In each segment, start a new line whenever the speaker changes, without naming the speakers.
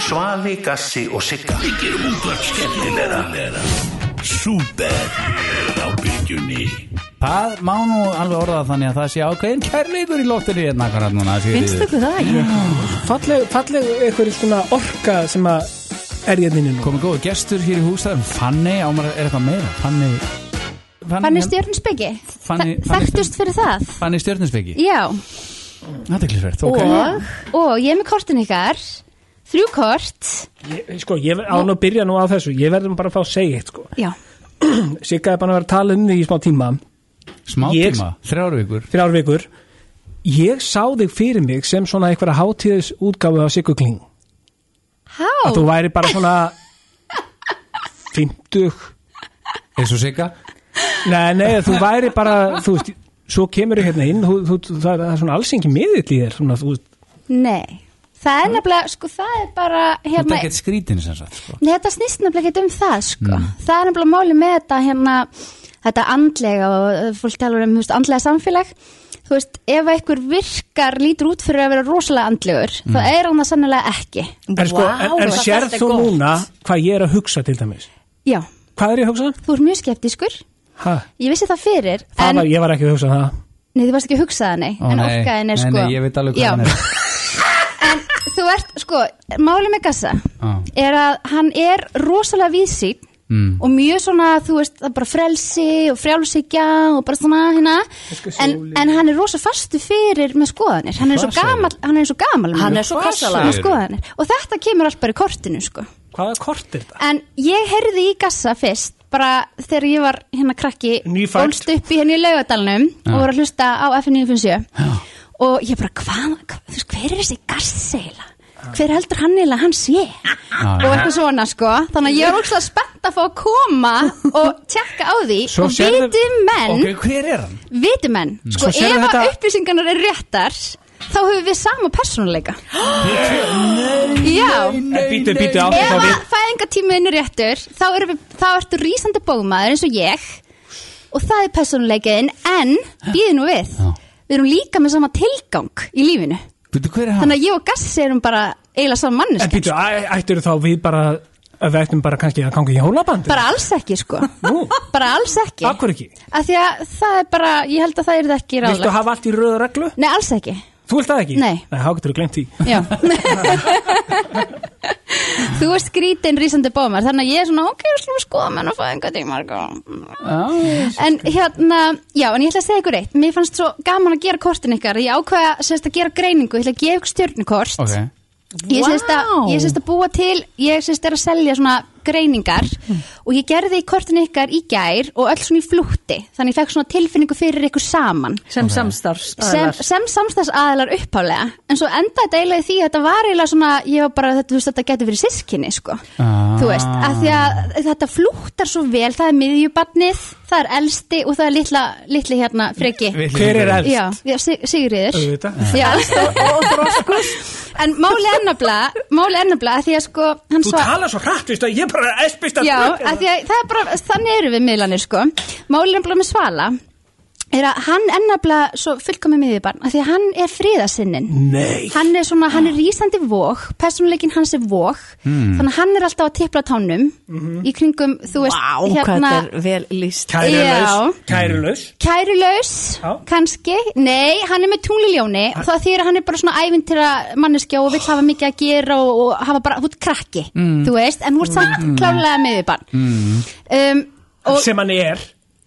Svali, Gassi og Sigga Við gerum útvarp skemmtilega Súper á byggjunni
Það má nú alveg orða þannig að það sé ákveðin kærleikur í loftinu hérna akkurat núna það sé
Finnst
við-
ykkur það?
Falleg, falleg eitthvað svona orka sem að er hérna ég minni nú
Komið góð gestur hér í hústæðum Fanny, ámar er eitthvað meira Fanny
Fanny Stjörnspeggi
Fanny- Fanny
Þekktust fyrir það
Fanny Stjörnusbyggi
Já
Aðeinsverð, ok
og, og ég er með kortin ykkar Þrjú kort
ég, Sko, ég ver- á nú að byrja nú á þessu Ég verðum bara að fá að segja eitt sko
Já
Sigga er bara að vera að tala um því í smá tíma
Smá
Ég-
tíma, þrjár vikur
Þrjár vikur Ég sá þig fyrir mig sem svona einhverja hátíðis útgáfu á Siggu Kling
Há
Að þú væri bara svona 50
Eins og sigga
Nei, nei, þú væri bara Þú veist, svo kemur þig hérna inn þú, þú, þú, það, það er svona alls engin miðill í þér svona, þú, veist,
Nei Það er nefnilega, sko, það er bara
Þú ert
hérna,
ekkert skrítin sem sagt sko.
Nei, þetta snýst nefnilega ekki um það, sko.
Mm.
Það er nefnilega máli með þetta, hérna, þetta andlega og uh, fólk talar um, þú veist, andlega samfélag. Þú veist, ef einhver virkar lítur út fyrir að vera rosalega andlegur, þá
Mm.
er hann það sannilega ekki.
En, sko, en, en
hvað
sér
þetta er
þú
gott.
núna hvað ég er að hugsa til dæmis
Já,
Hvað er ég að hugsa?
þú ert mjög skeptiskur.
Ha,
Ég vissi það fyrir,
það
en,
var, ég var ekki að hugsa það
nei, þú varst ekki að hugsa það, nei,
Ó,
en
nei,
orkaðin er,
nei,
sko.
nei, ég veit alveg hvað
Já.
hann er.
en þú ert, sko, máli með Gassa
Ah.
er að hann er rosalega vísýn
Mm.
og mjög svona, þú veist, það er bara frelsi og frjálsíkja og bara svona hérna, en, en hann er rosa fastu fyrir með skoðanir, hann er eins og
Hvað
gamal hann er eins og gamal
Hann er svo kassala
með skoðanir og þetta kemur allt bara í kortinu, sko
Hvaða kort er það?
en ég heyrði í Gassa fyrst bara þegar ég var hérna krakki
Nýfædd.
ólst upp í henni í laugadalnum og voru að hlusta á FN957 og ég bara hvað, hvað, þú veist, hver er þessi Gassi eiginlega? hver heldur hann eiginlega hann sé og eitthvað svona sko þannig að ég var ógslag spennt að fá að koma og tjekka á því og viti menn
Ok, hver er hann?
viti menn, sko
Svo
ef
sérðu
þetta...
þetta-
upplýsingarnar er réttar þá höfum við sama persónuleika já
En býtu, býtu, átti
Ef
þá
að
við
fæðingatímiðin er réttur þá, er við, þá ertu rísandi bómaður eins og ég og það er personleikiðin en býði nú við
Já.
við erum líka með sama tilgang í lífinu
Veitu hver er hann?
þannig að ég og Gassi erum bara eiginlega saman
En
manneski
býtu, ættir þá við bara að við ættum bara kannski að ganga í hjólabandi
bara alls ekki sko
Nú,
bara alls ekki
akkur ekki
af því að það er bara, ég held að það er ekki
Viltu
ráðlegt
hafa allt í röðu reglu?
nei alls ekki
Þú vilt það ekki?
Nei.
Nei, þá getur þú glemt því
Já. þú ert skrítinn rísandi bómar þannig að ég er svona ok, slúm skoða menn og fæðinga en hérna já, en ég ætla að segja ykkur eitt mér fannst svo gaman að gera kortin ykkar ég ákveða sérst að gera greiningu, ég ætla að gefa ykkur stjörnukort
Ok,
ég sérst að,
Vá.
ég sérst að búa til ég sérst er að selja svona greiningar
Hmm.
og ég gerði kortin ykkar í gær og öll svona í flútti þannig ég fekk svona tilfinningu fyrir ykkur saman
Sem samstarfs
sem, sem samstæðsaðilar upphálega en svo endaði þetta eiginlega í því að þetta var eiginlega svona, ég var bara, þetta, þú veist, þetta getur verið sískinni sko,
Ah.
þú veist, að því að þetta flúttar svo vel, það er miðjubarnið það er elsti og það er litla, litli hérna freki,
Við-
Hver er elst?
já, já Sig- Sigríður
Auðvitað.
já, og þroskust en máli ennabla, máli ennabla að því að sko, hann
Þú
svo
talar svo hrætt, veist að ég bara espist að
Já, af því að það er bara, þannig eru við miðlanir sko. Málið er bara með Svala er að hann ennabla svo fullkomið miðjubarn, af því að hann er friðasinnin.
Nei
Hann er svona, hann er rísandi vók, persónuleikin hans er vók,
Hmm.
þannig að hann er alltaf að tipla á tánum
Mhm.
í kringum, þú veist,
Vá, hvað
hérna,
þetta er vel líst
Já.
Kærulaus Kærulaus
kærulaus,
Já.
kannski, nei, hann er með tungliljóni, það þýr að hann er bara svona ævintýra manneskja og vill hafa mikið að gera og, og hafa bara, þú ert krakki,
Hmm.
þú veist, en hún er samt klárlega miðjubarn. Um, og,
Mm. Sem hann er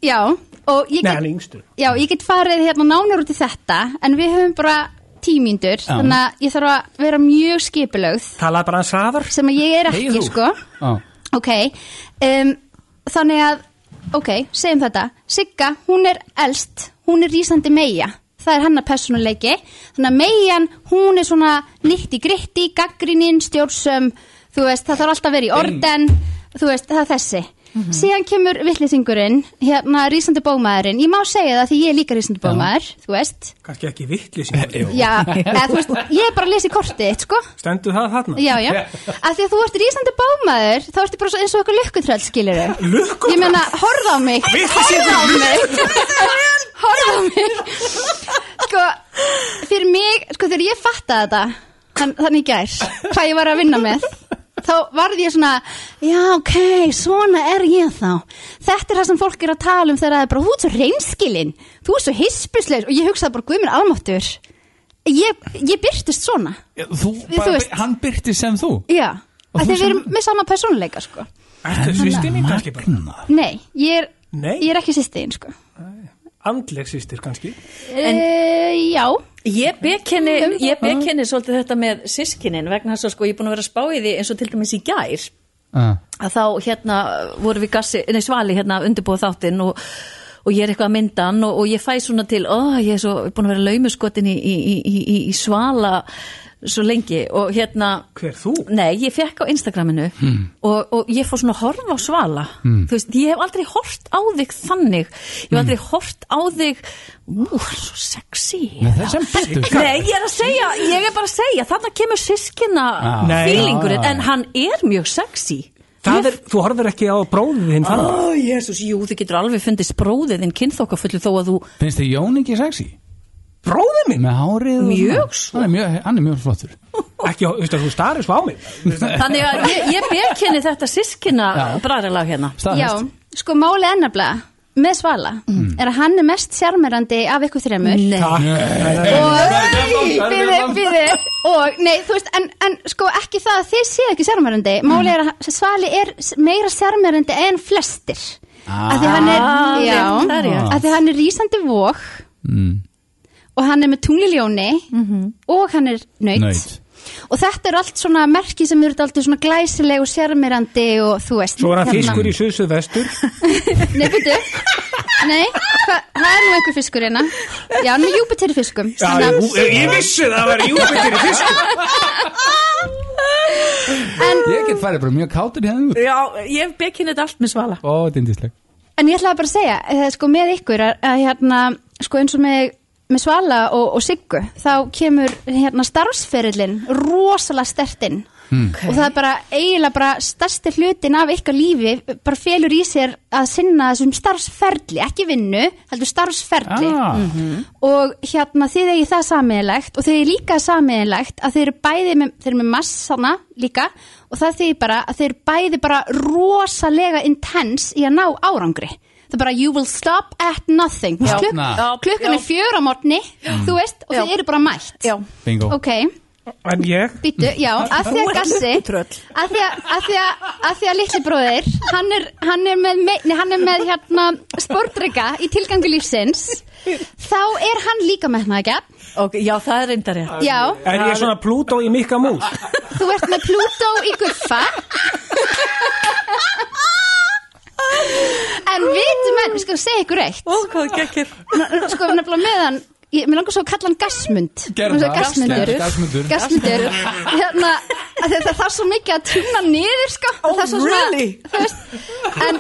já, og ég
Nei,
get,
hann er yngstur
Já, ég get farið hérna nánar út í þetta en við höfum bara tímyndur
Já.
þannig að ég þarf að vera mjög skipulögð
Talaði bara hans hraðar
sem að ég er ekki,
Hey, þú.
sko
á,
Ok, um, þannig að ok, segjum þetta Sigga, hún er elst, hún er rísandi meia það er hennar persónuleiki þannig að meian, hún er svona nýtti gritti, gaggrininn, stjórnsum þú veist, það þarf alltaf að vera í orden þú veist, það er þessi síðan kemur villithingurinn hérna rísandi bómaðurinn, ég má segja það því ég er líka rísandi bómaður, þú veist
Kannski ekki vittlýsing
já, eða, þú veist, ég er bara að lesa í kortið þitt, sko
Stendur það þarna?
Já, já, af því að þú ert rísandi bámaður þá ertu bara svo eins og eitthvað lukkutröll skilir þau
Lukkutröll?
Ég meina, horfða á mig Horfða á mig Horfða á mig Sko, fyrir mig, sko þegar ég fattaði þetta þann, þannig í gær, hvað ég var að vinna með þá varð ég svona já ok, svona er ég þá þetta er það sem fólk er að tala um þegar það er bara, þú ert svo reynskilin þú ert svo hispisleis og ég hugsaði bara, guð minn almáttur ég, ég byrtist svona
Þú,
Við-
bara,
þú veist-
hann byrti sem þú
já,
Sko. Og
af
þú
því við erum
sem-
með sama persónuleika sko
Ertu sýstir mín kannski bara?
Magnað.
nei, ég er,
Nei.
ég er ekki sýstiðin sko
Andleg sýstir kannski?
en, já,
Ég bekenni, ég bekenni svolítið þetta með sískinin vegna þess að sko ég er búin að vera að spá í því eins og til dæmis í gær
Ah.
að þá hérna vorum við gassi, nei, svali hérna undirbúið þáttinn og, og ég er eitthvað að mynda hann og, og ég fæ svona til, ó, ég er svo búin að vera laumuskotin í, í, í, í, í, í svala svo lengi og hérna
Hver þú?
Nei, ég fekk á Instagraminu og, og ég fór svona að horfa á svala
Mm.
þú veist, ég hef aldrei hort á þig þannig, ég hef aldrei hort á þig ú, svo sexy
Nei, það er sem betur fer.
Nei, ég er að segja, ég er bara að segja þarna kemur sískina
Ah.
Nei.
fílingurinn,
Ah.
en hann er mjög sexy
Það er, þú horfir ekki á bróðið þinn
Ah.
þannig?
Ó, jésus, jú, þið getur alveg fundist bróðið þinn kynþokkafullu þó að þú
Finnst þið Jón ekki sexy?
Bróðið minn?
Með hárið og
Mjög
svona. hann er mjög, hann er mjög flottur
Ekki, þú veist að þú starir svo á mig.
Þannig að ég, ég bekenni þetta sískina bræðarlag hérna
já,
Staðfest.
sko málið ennabla með Svala
Mm.
er að hann er mest sjarmerandi af ykkur þremur
Nei,
og byrði, byrði og nei, þú veist, en, en sko ekki það að þið séð ekki sérmærandi málið er að Svali er s- meira sérmærandi en flestir ah, að því hann er,
Ah,
já,
það er rétt.
að því hann er rísandi vók
Mm.
og hann er með tungliljóni
Mhm.
og hann er nöyt
Naut.
og þetta er allt svona merki sem eru alltaf svona glæsileg og sérmærandi og þú veist
Svo er hann
hérna.
fiskur í suðsuð vestur.
Nei, byrju Nei, hva, það er nú einhver fiskur hérna Já, hann er með Júpiter fiskum
ég vissi það að vera júbitir í fiskur.
Ég get farið bara mjög kátur hérna
já, ég bekenni þetta allt með svala
Ó, þetta er indisleg
En ég ætlaði bara að segja, eh, sko með ykkur að, að hérna, sko eins og með, með Svala og, og Siggu, þá kemur hérna starfsferillin rosalega stertinn mm. og það er bara eiginlega bara stærsti hlutin af ykkar lífi bara felur í sér að sinna þessum starfsferli, ekki vinnu, heldur starfsferli
Ah.
Mhm.
og hérna þið eigi það samiðilegt og þið eigi líka samiðilegt að þið eru bæði með, þið eru með massana líka og það þið bara að þið eru bæði bara rosalega intense í að ná árangri það er bara you will stop at nothing
Já.
Klukk-
Já.
klukkan
Já.
er fjör á morgni þú veist og
Já.
þið eru bara mætt
Já.
Bingo
ok,
En ég,
býtu, já, að því
Þú
að
ert
gassi
lukkutröll.
að því að, að, því að, að, því að litli bróðir hann er, hann er með, me- nei, hann er með hérna, sportrygga í tilgangu lífsins þá er hann líka með það
Ok, Já, það er reyndar rétt
já,
er ég svona Plútó í Mikka Mús?
þú ert með Plútó í guffa en vitum en, sko, segja ykkur eitt
Ó, hvað gekkir
sko, nefnilega með hann ég, mér langar svo að kalla hann Gasmund
Gerðu það.
Gasmundur
Gerðu, Gasmundur.
Gasmundur hérna, af því að það er það er svo mikið að tjúna niður sko.
Oh,
það er svo
really?
þú veist, en,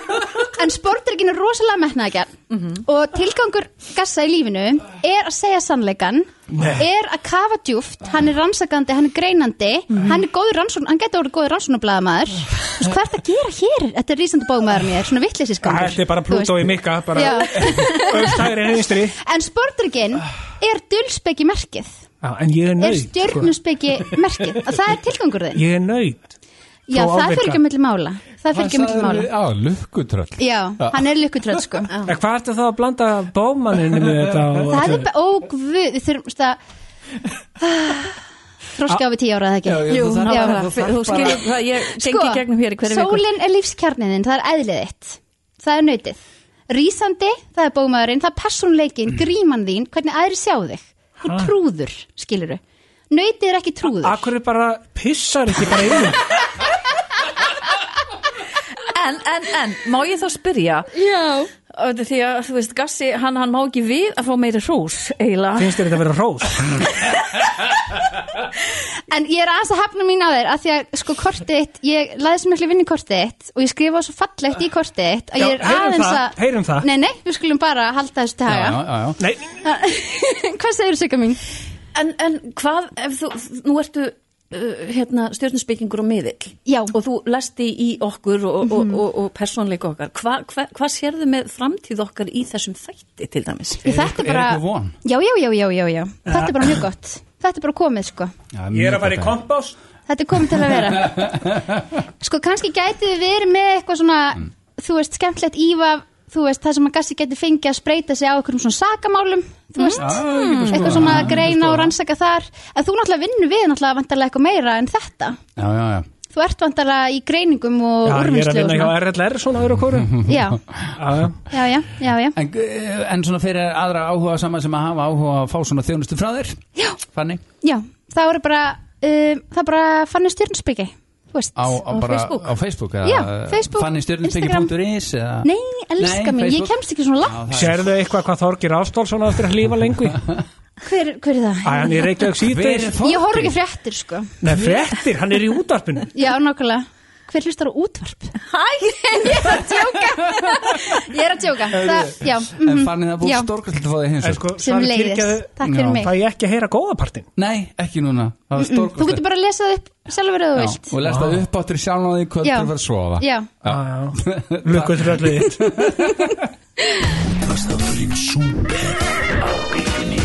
en sportrygin er rosalega metnaðegjarn og tilgangur Gassa í lífinu er að segja sannleikan er að kafa djúft hann er rannsakandi, hann er greinandi hann er góður rannsón, hann getur orðið góður rannsónablaðamaður Þú veist, hvað er þetta að gera hér? Þetta er rísandi bómaður mér, svona vitleysisgangur
Þetta er bara
Þú veist.
Plútó í Mikka, bara
Já.
öfstæri en einstri.
En sportrygin er dulspeki merkið
En ég er
Er
nöyt.
stjörnuspeki merkið Og það er tilgangur þinn
sko. Ég er nöyt.
Já, það
Þó ávirka.
fyrir ekki að milli mála Það fyrir ekki að milli mála
Á, lukkutröll
Já, hann er lukkutröð sko
En hvað ertu þá að blanda bómaninu með þetta? og-
Það er bara, ó guð, við þurfum það Þroski Ah, á við tíu ára eða ekki
Jú,
Jú,
þú þarf-
nákvæmlega.
nákvæmlega,
þú þarf
þú skilur hvað ég gengi gegnum hér í hverju viku
sólin er lífskjarniðin, það er eðlið þitt Það er nautið Rísandi, það er bómaðurinn, það er persónleikin, gríman þín Hvernig aðri sjá þig Þú er trúður, skilurðu Nautið er ekki trúður
Akkur er bara pissar ekki bara yfir?
En, en, en, má ég þá spyrja
Já
Ö, Því að, þú veist, Gassi, hann, hann má ekki við að fá meiri hrós, eiginlega
Finnst þér þetta að vera rós?
En ég er aðeins að hafna mín á þér að því að sko kortið þitt, ég laði svo miklu vinni kortið þitt og ég skrifa svo fallegt í kortið þitt að
Já,
ég er
heyrum
aðeins
það,
að
heyrum það.
Nei, nei, við skulum bara halda þessu til
Já, já,
haga
já, já.
Nei,
Hvað segir Sigga mín?
en, en hvað, ef þú, nú ertu uh, hérna, stjórnusbyggingur og miðill
Já. Mhm.
Og þú lesti í okkur og, og, og, og persónleika okkar Hva, hva, Hvað sérðu með framtíð okkar í þessum þætti, til dæmis?
Er,
eitthvað- er eitthvað von?
Já, já, já, já, já, já Þetta er bara mjög gott Þetta er bara komið sko
Já,
ég er
mjög
að fara í
gott
kompás.
þetta er komið til að vera sko kannski gæti þið verið með eitthvað svona þú veist, skemmtlegt íva þú veist, það sem að gassi gæti fengið að spreita sig á einhverjum svona sakamálum þú veist, eitthvað svona greina og rannsaka þar en þú náttúrulega vinnur við náttúrulega vantarlega eitthvað meira en þetta
Já, já, já
þú ert vantarlega í greiningum og
Já, ég er að
úrvinnslu og
vinna hjá
svona
RLR svona öðru okkur
já,
Já, já.
já, já, já, já.
En, eh, en svona fyrir aðra áhuga saman sem að hafa áhuga að fá svona þjónustu frá þér
Já.
Fanny
Já, það voru bara um, það bara fannu stjörnspeki Þú veist,
á, á,
Á
bara,
Facebook?
á Facebook, eða-
Já, Facebook,
Fannystjörnustykki.is eða-
Nei, elska
Nei,
mín, ég
Facebook.
kemst ekki svona
Já,
langt
það er-
Sérðu eitthvað hvað Þorgir Ástólfsson á eftir að lífa lengi?
hver, hver er
Æ,
það?
hann er Reykjavík
Hver
síðdeis.
er Þorgeir?
Ég horf ekki fréttir sko
Nei, fréttir, hann er í útarpinu.
Já, nákvæmlega Hver hlustar á útvarp? Hæ, ég er að djóka Ég er að djóka það, Já,
En
mhm.
Fanny það er búið
Já,
stórkast að fá þig hins
En sko,
sem
Svari
leiðist,
Kyrkja-
takk fyrir
Já,
mig
Fæ ég ekki að heyra góða partinn?
Nei, ekki núna, það var stórkast
Mm, Þú getur bara að lesa það upp sjálfur að þú vilt
Og lest það upp áttur í sjálfnáði í kvöld
Já.
til að fara að sofa
Já,
Ah,
Lukkuð fyrir öllu þitt.
Þátturinn Súper á bylgjunni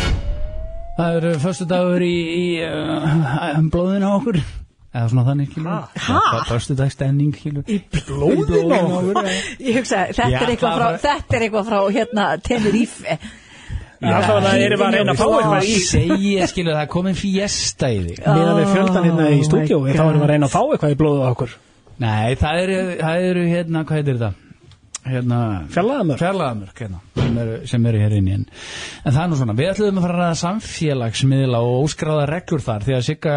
Það eru förstu dagur í, í uh, blóðinu á okkur eða svona þannig kilur Förstu dag stemning kilur Í blóðinu á okkur eða-
Ég hugsa, þetta,
Já,
er eitthvað
það
frá,
var-
þetta er eitthvað frá hérna Tenerife
Alltaf það erum við að reyna að fá
Hvað
eitthvað í.
ég segi ég skilur það er komin fjesta í þig Oh
Meðan við fjöldan hérna í
my
stúdíói, þá erum við að reyna að fá eitthvað í blóðu á okkur.
Nei, það eru, það eru hérna, hvað heitir þetta? Hérna,
Fjallaðamörk.
fjarlæðamörk hérna, sem eru, sem eru hér inni en, en það er nú svona, við ætluðum að fara að ræða samfélagsmiðla og óskráða reglur þar því að Sigga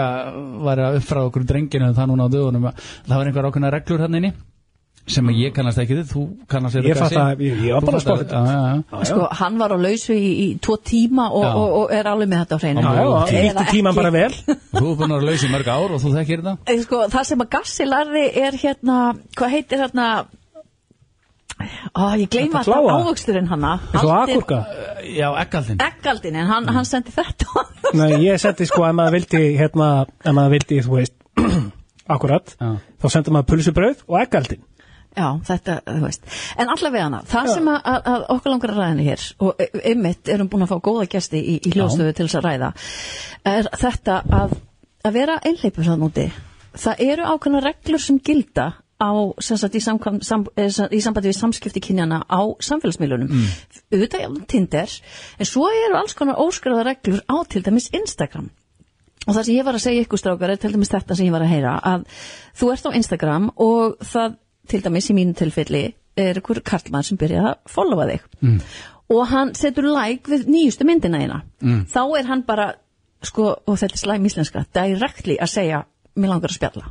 var að uppfra okkur drenginu það núna á dögunum að það var einhver ákveðna reglur hann inni sem að ég kannast ekki þið, þú kannast
Ég fatt að, ég ég var bara að spá þetta.
þetta
Sko, hann var á lausu í, í tvo tíma og,
Já.
og, og er alveg með þetta á hreinu
Já, já,
Eða
nýttu tíman
ekki.
bara vel.
Þú er búin að vera laus í mörg ár og þú þekkir þetta
Eh, sko, það sem að Gassi Larri er hérna, hvað heitir hérna Ó, ég gleyma
Þetta
alltaf
fláa.
ávöxturinn hana
Svo akurka.
Já, ekkaldin
Eggaldin, en hann, hann sendi þetta
Nei, ég setti sko, ef maður vildi, hérna, ef maður vildi, þú veist, akkurat,
Já.
þá sendur maður pulsubröð og ekkaldin.
Já, þetta, þú veist En allavega hana, það sem að, að, að okkur langar að ræðinu hér og e- einmitt erum búin að fá góða gesti í, í hljóðstöfu til þess að ræða er þetta að, að vera einhleipur þann úti það eru ákveðna reglur sem gilda á, sem sagt, í, samkvæm, sam, eh, sam- í sambandi við samskipti kynjana á samfélagsmiðlunum auðvitað mm. Tinder en svo eru alls konar óskraða reglur á til dæmis Instagram Og það sem ég var að segja ykkur strákar er til dæmis þetta sem ég var að heyra að þú ert á Instagram og það til dæmis í mínu tilfelli er ykkur karlmann sem byrjaði að followa þig mm. og hann setur like við nýjustu myndina eina mm. þá er hann bara, sko, og þetta er slæm íslenska directly að segja, mér langar að spjalla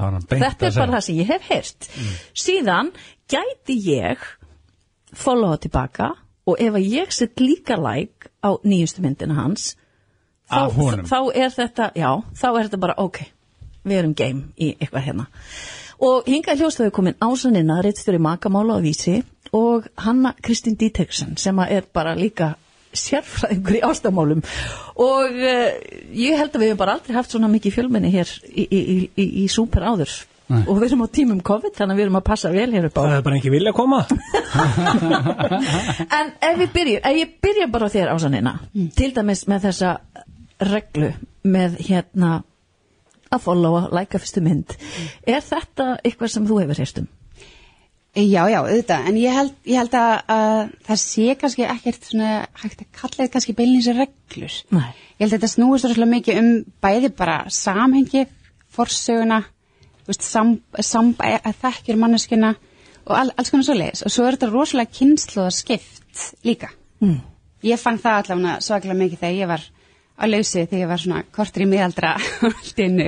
þetta er bara það sem ég hef heyrt síðan gæti ég followa tilbaka og ef að ég set líka like á nýjustu myndina hans þá,
Af honum.
þá er þetta, já, þá er þetta bara ok, við erum game í eitthvað hérna og hingað hljóstaðu komin Ásanina, reittstjóri makamála á vísi og Hanna Kristín Díteksen sem að er bara líka sérfræðingur í ástamálum og uh, ég held að við hefum bara aldrei haft svona mikið fjölmenni hér í, í, í, í, í súper áður
Nei.
og við erum á tímum COVID þannig að við erum að passa vel hér upp á
Það er bara ekki vilja að koma.
En ef við byrjum, ef ég byrja bara á þér ásanina,
Mm.
til dæmis með þessa reglu með hérna að followa, læka fyrstu mynd, er þetta eitthvað sem þú hefur um? hérstum?
Já, já, auðvitað, en ég held, ég held að, að það sé kannski ekkert svona hægt að kalla þetta kannski beinlýns reglur.
Mm.
Nei.
Ég held að þetta snúist rosalega mikið um bæði bara samhengi, forsöguna, þú veist, sam, sam, að þekkjur manneskuna og all, alls konar svoleiðis. Og svo er þetta rosalega kynnslóðarskipt líka. Mm. Ég fann það allavega svaklega mikið þegar ég var á lausi þegar ég var svona kortur í miðaldra allt innu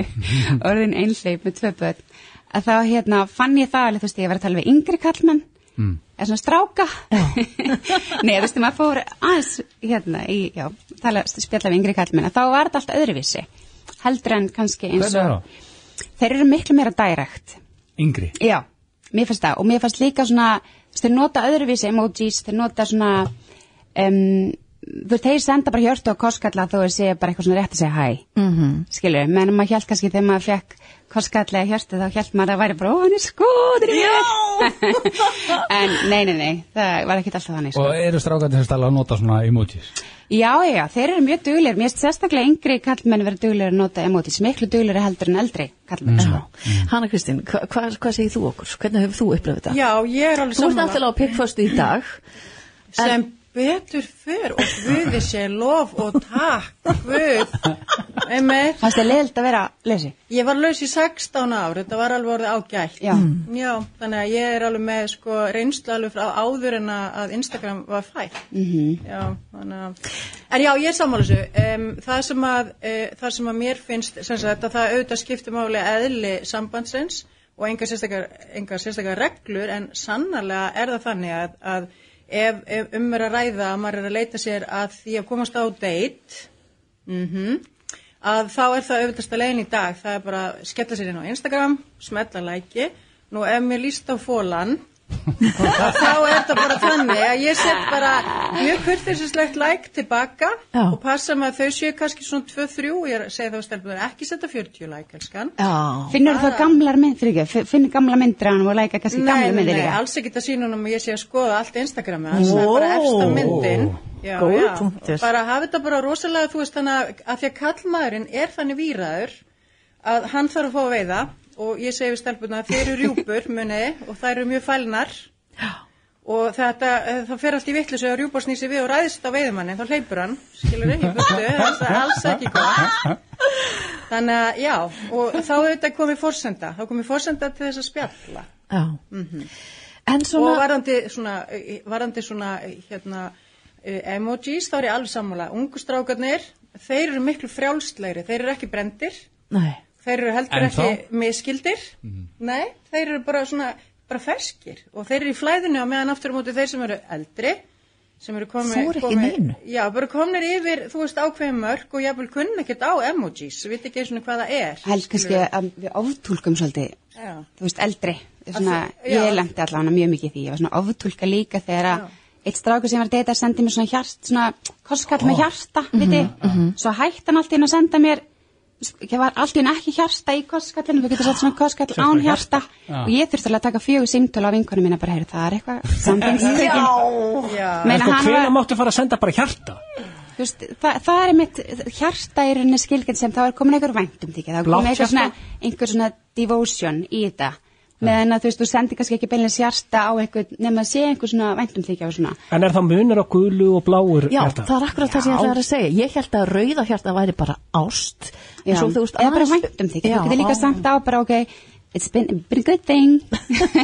og orðin einhleip með tvö börn að þá hérna fann ég það alveg þú veist ég var að tala við yngri kallmenn mm. eða svona stráka nei þú veist maður fór aðeins hérna í, já, tala, spjalla við yngri kallmenn að þá var þetta allt öðruvísi heldur en kannski eins
Hvernig er
og þeir eru miklu meira dærekt
Yngri
Já, mér fannst það og mér fannst líka svona, þú veist, þeir nota öðruvísi emojis, þeir nota svona um, þú veist, þeir senda bara hjörtu og koskalla þó að sé bara eitthvað svona rétt að segja hæ, mm -hmm. skilur, menn maður hjælt kannski þegar maður fekk koskalla eða hjörtu þá hjælt maður að væri bara, ó, hann er skoður en nei, nei, nei, það var ekkit alltaf þannig sko.
Og eru strákandi sem stala að nota svona emojis
Já, já, já, þeir eru mjög duglir. Mér finnst sérstaklega yngri kallmenn vera duglir að nota emojis, miklu duglir heldur en eldri kallmenn. Mm.
Hanna Kristín, hva, hva, hvað segir þú okkur? Hvernig hefur þú upplöfð þetta?
Já, ég er alveg
Þú ert
sammála.
náttúrulega á pikkföstu í dag
sem betur fyrr og Guði sé lof og takk Guð Einmitt.
Fannst þið leiðilt að vera lesi?
ég var laus í 16 ár þetta var alveg orðið ágætt
Já. Mm.
Já, þannig að ég er alveg með sko, reynslu alveg frá áður en að að Instagram var fætt -hmm. já, þannig að en já, ég er sammála þessu um, það, sem að, uh, það sem að mér finnst sem sagt, að það auðvitað skiptir máli eðli sambandsins og engar sérstakar, engar sérstakar reglur en sannarlega er það þannig að, að ef, ef um er að ræða að maður er að leita sér að því að komast á date mhm að þá er það auðvitaðsta leiðin í dag það er bara að skella sér inn á Instagram smetla læki, nú ef mér líst á fólan þá er það bara þannig að ég set bara mjög kurteisislegt læk tilbaka
Já.
og passa með að þau séu kannski svona 2-3, ég segi þá stelpur ekki setja 40 læk, elskan
Já,
Finnur það gamlar mynd, fyrir ekki? Finnur gamla myndir að hann og læka kannski
Nei,
gamla
nei,
myndir
nei,
líka?
alls ekki að sína honum að ég sé að skoða allt Instagrami hans, það er
Ó.
bara efsta myndin Já,
Góður
já,
punktur.
bara hafa þetta bara rosalega, þú veist þannig að, að því að kallmaðurinn er þannig výraður að hann þarf að fá að veiða og ég segi við stelpuna að þeir eru rjúpur muniði og þær eru mjög fælnar og þetta, eh, það fer allt í vittlis og rjúpa snýsi við og ræðist á veiðmanni þá hleypur hann, skilur þið, í burtu það er alls ekki gott þannig að já, og þá er þetta komið forsenda, þá komið forsenda til þess að spjalla
já.
Mhm.
En
og
svona,
varandi svona, varandi svona hérna, eh, emojis, þá er ég alveg sammála. Ungu strákarnir, þeir eru miklu frjálslegri, þeir eru ekki brendir,
nei
þeir eru heldur
En
ekki miskildir, nei, þeir eru bara svona, bara ferskir og þeir eru í flæðinu á meðan aftur á móti þeir sem eru eldri, sem eru komi,
Þora ekki neinu.
já, bara komnir yfir, þú veist, ákveðin mörg og jafnvel kunn ekkert á emojis, við veit ekki einu svona hvað það er.
Held kannski að við oftúlkum svolítið,
Já.
þú veist, eldri. Svona,
Að þið- já.
ég lendi allan mjög mikið í því. Ég var svona oftúlka líka þegar að eitt stráku sem var að deyta sendi mér svona hjart, svona kostkall með hjarta, mm
Mhm.
Svo hætti hann allt í einu að senda mér, ég var allt í einu ekki hjarta í kostkallinu, við getum sett svona kostkall án hjarta. Og ég þurfti alveg að taka fjögur símtölu á vinkunum mína bara, heyrðu, það er eitthvað, samfengstekin.
Já.
En sko, hvena máttu fara að senda bara hjarta?
Þú veist, það, það er mitt hjarta í rauninni skilgjand sem þá er komin einhver væntum þykja, þá er komin einhver svona,
Blátt
einhver svona devotion í þetta meðan að þú veist, þú sendir kannski ekki beinlega hjarta á einhver, nema að sé einhver svona væntum þykja og svona,
En er það munur á gulu og bláur
Já,
hjarta?
það er akkurat það sem ég ætlaði að segja Ég held að rauða hjarta væri bara ást en
já,
svo þú veist
eða bara
aðeins-
væntum þykja,
Já,
þú getur líka
á-
samt á bara, ok, it's been, been a good thing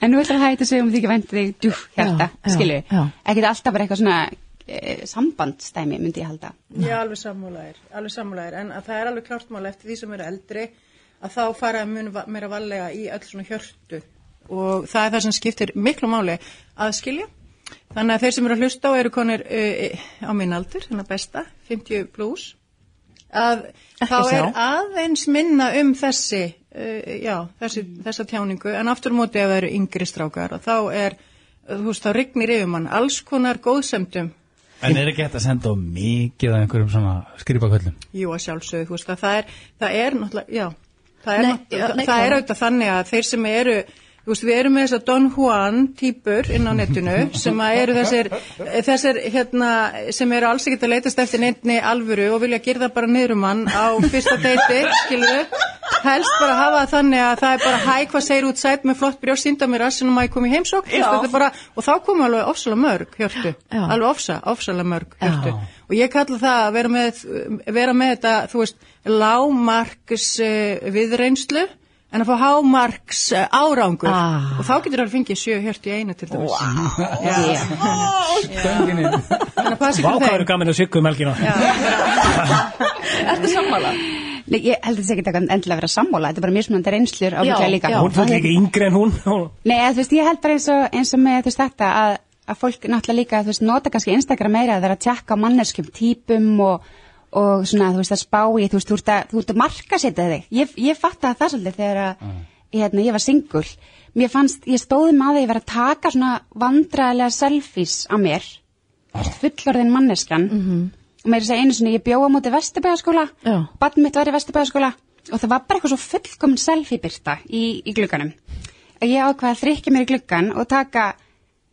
en nú ætlar að hægt að segja um þykja væntum þig, djú, hjarta
Já, já,
skilju,
já.
ekki alltaf bara eitthvað svona eh, sambandstæmi, myndi ég halda
Já, alveg sammálaðir, alveg sammálaðir, en að það er alveg klart mál eftir því sem eru eldri að þá fara mun va- meira vallega í öll svona hjörtu og það er það sem skiptir miklu máli að skilja. Þannig að þeir sem eru að hlusta og eru konir uh, á minn aldur, þannig að besta, 50 pluss, að þá er
sjá.
aðeins minna um þessi, uh, já, þessi, þessa tjáningu, en aftur á móti ef það eru yngri strákar og þá er, uh, þú veist, þá rignir yfir mann alls konar góðsemdum
En er ekki hægt að senda á mikið af einhverjum svona skrýpaköllum?
Jú, að sjálfsögðu, þú veist að það er, það er náttúrulega, já, það er,
Nei,
náttúrulega-
já, nei,
það er
klára.
auðvitað þannig að þeir sem eru, þú veist, við erum með þess að Don Juan týpur inn á netinu sem að eru þessir, þessir hérna, sem eru alls ekkert að leitast eftir neittni alvöru og vilja gerða bara niðrumann á fyrsta deiti, skilur helst bara hafa það þannig að það er bara hæ, hvað segir út sætt með flott brjóð, sínda mér rassinum að ég kom í heimsók, þú veist, þetta er bara, og þá komu alveg ofsalega mörg, hjörtu,
Já.
alveg ofsa, ofsalega mörg, hjörtu
Já.
og ég kalla það að vera með, vera með þetta, þú veist, lámarks uh, viðreynslu en að fá hámarks eh, árangur
Ah.
og þá getur það fengið sjö hjört í einu til dæmis wow.
Stönginni.
þannig að passi
Vá,
ekki
hvað eru
þeim
gaman að sykku um helgina?
Ertu sammála?
Nei, ég held þess ekki að þetta endilega að vera sammála, þetta er bara mjög svona reynslur ábygglega líka.
já.
Hún fann líka yngri en hún. Hún-
Nei, eða, þú veist, ég held bara eins og, eins og með þú veist, þetta að, að fólk náttúrulega líka þú veist, nota kannski Instagram meira að vera að tjekka á manneskum típum og, og svona, þú veist, að spá í, þú veist, þú ert að, þú ert að marka setja þig. Ég, ég fatt að það svolítið þegar að, hérna, ég var singul. Mér fannst, ég stóði maður að ég var að taka svona vandræðilega selfies á mér, fullorðin manneskan,
Mhm.
og mér er að segja einu svona, ég bjóða á móti vesturbæðaskóla,
Já.
badn mitt var í Vesturbæðaskóla og það var bara eitthvað svo fullkomin selfie byrta í, í glugganum. Ég ákvað að þrykja mér í gluggan og taka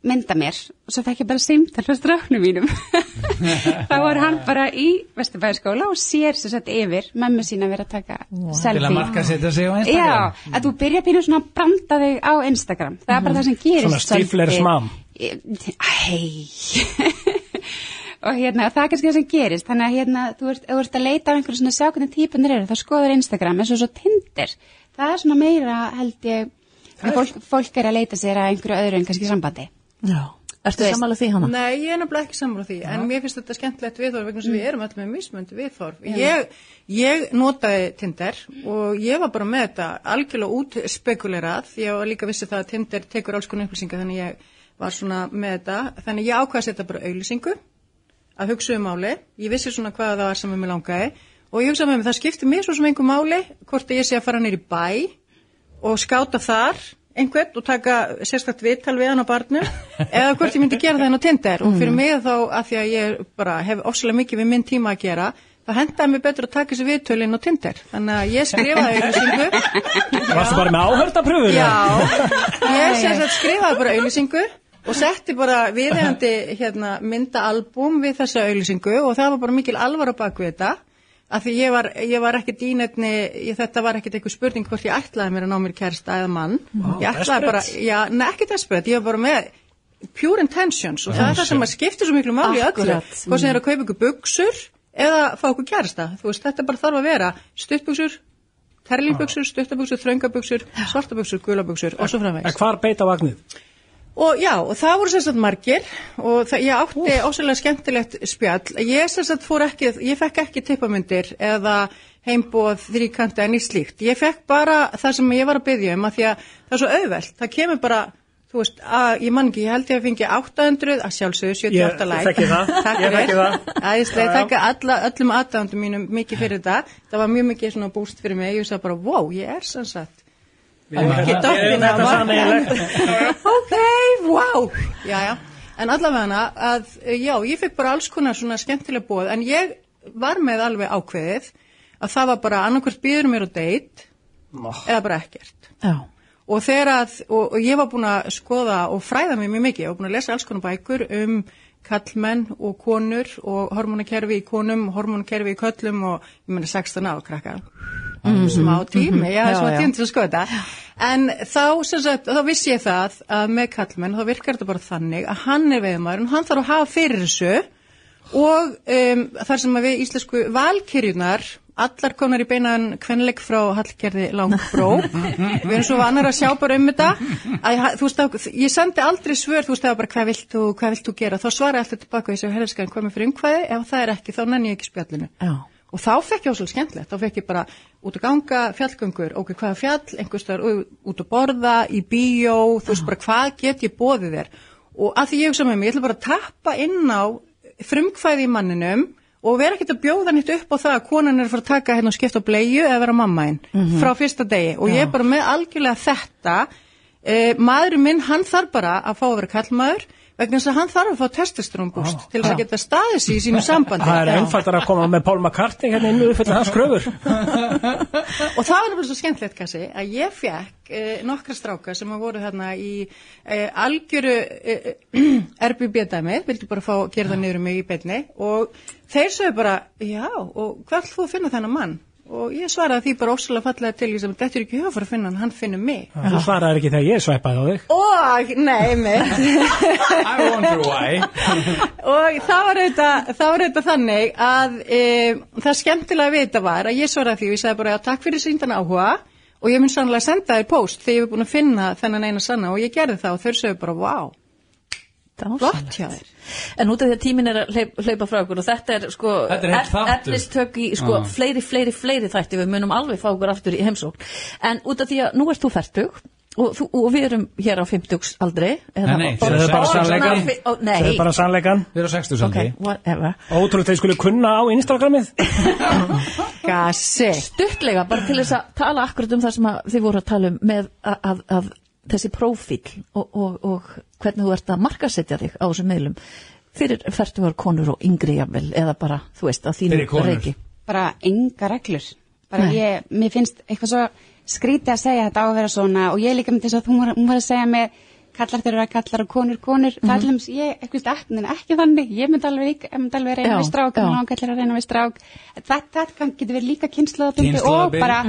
mynda mér og svo fekk ég bara simtal frá strafnum mínum þá var hann bara í Vesturbæðarskóla og sér sem sagt yfir mömmu sína verið að taka
Til
selfie
að marka setja sig á
Já,
Instagram
að þú byrja að pínu svona að branda þig á Instagram það er bara
Mhm.
það sem gerist
Svona stifler's
svolítið.
mom.
Æ og hérna, það er kannski það sem gerist þannig að hérna, þú ert, ef þú ert að leita á einhverju svona sjá hvernig típunir eru, þá skoður Instagram eins og svo Tinder, það er svona meira held ég, en fólk, fólk er að leita sér að einhverju öðru en kannski sambandi Þú
Já. Ertu
veist.
samanlega því hana?
Nei, ég er nefnilega ekki sammála því, en mér finnst þetta skemmtilegt viðhorf vegna sem við erum öll með mismönd viðhorf. Ég, ég notaði Tinder og ég var bara með þetta algjörlega út spekulerað, ég var líka vissi það að Tinder tekur alls konar upplýsingar þannig ég var svona með þetta, þannig ég ákvaði að setja bara auðlýsingu að hugsa um máli, ég vissi svona hvað það var sem mér langaði og ég hugsaði með mér, það skiptir mér svo sem einhver máli, hvort að ég sé að fara nýri bæ og skáta þar einhvern og taka sérstakt viðtal við hann á barnum eða hvort ég myndi gera það inn á Tinder og fyrir mig þá að því að ég bara hef ofsalega mikið við minn tíma að gera þá hendaði mér betur að taka þessi viðtöl inn á Tinder þannig að ég skrifaði auðvisingu
Varstu bara með áhördapröfuna?
Já, ég sem sagt skrifaði bara auðlýsingu og setti bara viðhengandi hérna, myndaalbum við þessa auðlýsingu og það var bara mikil alvar á bakvið þetta af því ég var, ég var ekkert í nefni, ég, þetta var ekkert einhver spurning hvort ég ætlaði mér að ná mér kærsta eða mann. ég ætlaði bara, já, ne, ekki desperate, ég var bara með pure intentions og það er það sem að skipta svo miklu máli í öllu.
Akkurat.
Hvort sem er að kaupa ykkur buksur eða fá ykkur kærsta, þú veist, þetta bara þarf að vera stuttbuksur, Terlingbuksur,
Ah.
stuttabuksur, þröngabuksur, svartabuksur, gulabuksur og svo
En
framvegs.
hvar beita vagnið?
Og já, og það voru sérstætt margir og það, ég átti ósæðilega skemmtilegt spjall. Ég sérstætt fór ekki, ég fekk ekki tippamyndir eða heimboð þrýkanta en í slíkt. Ég fekk bara það sem ég var að byggja um að því að það er svo auðvelt. Það kemur bara, þú veist, að ég man ekki, ég held ég að fengi 800 að sjálfsögðu 78
Ég
læk.
þekki það.
Takk
Ég þekki
fyrir.
það.
Æðislega,
Já, já.
takk alla, öllum aðdándum mínum mikið fyrir þetta. Það var mjög mikið svona búst fyrir mig. Ég sagði bara, wow, ég er sem sagt. Ekki dottin að markaðnum. Ok, wow. Já, já. En allavega að, já, ég fekk bara alls konar svona skemmtilega bóð, en ég var með alveg ákveðið að það var bara annarkvært býður mér á deitt eða bara ekkert.
Já.
Og þegar að, og, og ég var búin að skoða og fræða mig mjög mikið, ég var búin að lesa alls konar bækur um kallmenn og konur og hormonakerfi í konum, hormonakerfi í köllum og ég meina 16 ára krakka, smá tími, Mhm. já,
Mhm. Já,
smá
já.
tími til að skoða þetta. En þá, sem sagt, þá vissi ég það að með kallmenn þá virkar þetta bara þannig að hann er veiðmaður og hann þarf að hafa fyrir þessu og um, þar sem að við íslensku valkyrjunar allar komnar í beinan kvenleik frá Hallgerði Langbró við erum svo vanar að sjá bara um þetta að, ég ha- þú veist, þá- ég sendi aldrei svör þú veist, það var bara hvað vilt þú, hvað vilt þú gera þá svara alltaf tilbaka þessi herðskan komið fyrir umkvæði ef það er ekki, þá nenni ég ekki spjallinu
Já.
og þá fekk ég ósvöld skemmtilegt, þá fekk ég bara út að ganga, fjallgöngur, ok, hvaða fjall, einhverstaðar ú- út að borða, í bíó, þú veist bara hvað get ég bóðið þér og að því ég hugsa með mig, ég ætla bara að tappa inn á frumkvæði í manninum og vera ekkert að bjóða nýtt upp á það að konan er að fara að taka hérna og skipta á bleiu eða vera mammainn
Mhm.
frá fyrsta degi og ég er bara með algjörlega þetta e, maðurinn minn, hann þarf bara að fá að vera kallmaður vegna þess að hann þarf að fá testosterónbúst til þess að geta staðið sér í sínu sambandi
Það er einfaldar að koma með Paul McCartney hérna inn og uppfylla hans kröfur.
Og það var nefnilega svo skemmtilegt, Kassi, að ég fekk eh, nokkra stráka sem að voru hérna í eh, algjöru eh, RBB-dæmi, vildi bara fá að gera það niður um mig í beinni og þeir sögðu bara, já, og hvað ætlum þú að finna þennan mann? Og ég svaraði því bara ósala fallega til, ég sem þetta er ekki höfur að finna hann, hann finnur mig.
Þú svaraðir ekki þegar ég svæpaði á þig.
Og, nei, mitt.
I wonder why
og það var auðvitað, það var auðvitað þannig að e, það skemmtilega við þetta var að ég svaraði því og ég sagði bara já, takk fyrir síndan áhuga og ég mun sannlega senda þér post þegar ég er búin að finna þennan eina sanna og ég gerði það og þau sögðu bara vá, flott hjá þér
En út af því að tíminn er að hleyp, hleypa frá okkur og þetta er sko
Þetta er heill þáttur. Ah.
efnistök í sko
Já.
fleiri, fleiri, fleiri þætti við munum alveg fá okkur aftur í heimsókn en út af því að nú ert þú færtug og, þú, og við erum hér á 50 aldrei
Nei, nei, þeir eru
bara sannleikann.
Nei,
Það er bara sannleikan.
Við erum 60
ok,
sandi
whatever
Ótrúlega þeir skulle kunna á Instagramið.
Gassi
stuttlega bara til þess að tala akkurat um það sem að þið voru að tala um með að, að, að þessi prófíl og, og, og hvernig þú ert að markasetja þig á þessum meðlum fyrir færtugar konur og yngri jafnvel eða bara, þú veist, að þínu
Fyrir konur.
reiki
bara enga reglur bara ég, mér finnst eitthvað svo skrítið að segja þetta á að vera svona og ég er líka með þess að hún var, hún var að segja með kallar þeirra kallar og konur konur það
Mhm.
er til dæmis, ég, ekki, ekki, ekki þannig ég myndi alveg, líka- ég myndi alveg reyna
Já,
við strák
já.
og hann kallar að reyna við strák þetta, þetta kann- getur verið líka kynnslóðabundi og,
Kynslóðabil.
bara,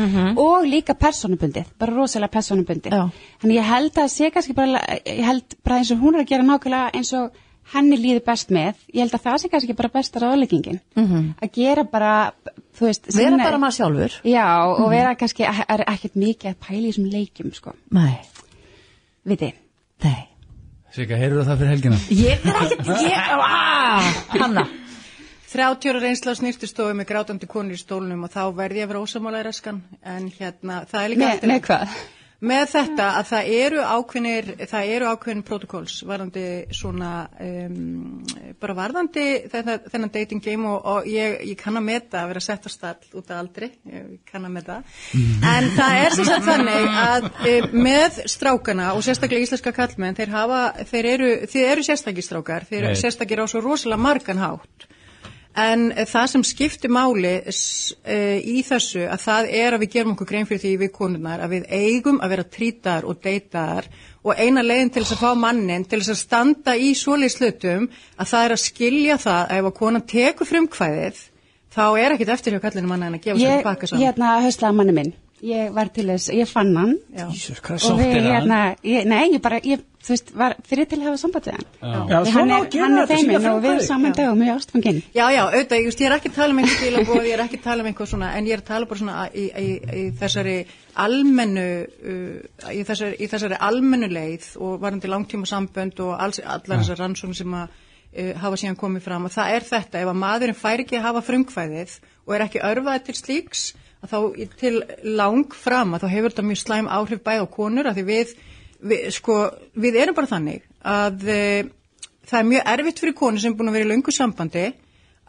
og líka personubundið bara rosalega personubundið
Já.
þannig ég held að sé kannski bara ég held bara eins og hún er að gera nákvæmlega eins og henni líður best með ég held að það sé kannski bara besta ráðleggingin
Mhm.
-hmm. að gera bara þú veist,
Vera
sinna-
bara maður sjálfur. Mhm.
já og vera kannski e- er ekkert mikið að pæla í þessum leikjum sko
Nei,
við þið
nei.
Svika, heyrðu það fyrir helgina?
Ég er ekkert, ég, aaa, Hanna.
30 ára reynsla á snýrtistofu með grátandi konur í stólnum og þá verði ég að vera ósamála í raskan en hérna, það er líka
með,
allt í lagi.
með hvað?
með þetta að það eru ákveðnir það eru ákveðin protokolls varðandi svona um, bara varðandi þetta, þennan dating game og, og ég, ég kann að meta að vera sett á stall út af aldri ég kann að meta en það er sem sagt þannig að um, með strákana og sérstaklega íslenska kallmenn þeir hafa, þeir eru, þeir eru sérstakir strákar þeir
Nei.
eru sérstakir á svo rosalega margan hátt En eh, það sem skiptir máli s- eh, í þessu að það er að við gerum okkur grein fyrir því við konurnar að við eigum að vera trítar og deytar og eina leiðin til þess að fá mannin til þess að standa í svoleið slutum að það er að skilja það að ef að konan tekur frumkvæðið þá er ekkit eftir hjá kallinu manna en að gefa sér
ég,
pakka saman.
hérna, hauslaði manni minn ég var til þess, ég fann hann
Já.
Jesus, hvað
og
sóttir
við,
það?
hérna, ég, nei, ég bara ég, þú veist, var fyrir til að hafa samband við hann
Já.
Já,
Því hann
svona á
er,
að gera
hann er
þetta, sýna
þeiminn og við erum
frumkvæði.
saman dag og mjög ástfangin
Já, já, auðvitað, ég, veist, ég er ekki að tala um einhver bílabóð, ég er ekki að tala um einhver svona, en ég er að tala bara svona í, í, í þessari almennu, uh, í, þessari, í þessari almennu leið og varandi langtíma sambönd og alls, allar þessar rannsóknir sem að uh, hafa síðan komið fram og það er þetta, ef að maðurinn fær ekki að hafa frumkvæðið og er ekki örfaði til slíks, að þá í- til lang fram að þá hefur þetta mjög slæm áhrif bæð á konur, af því við, við, sko, við erum bara þannig að uh, það er mjög erfitt fyrir konu sem er búin að vera í löngu sambandi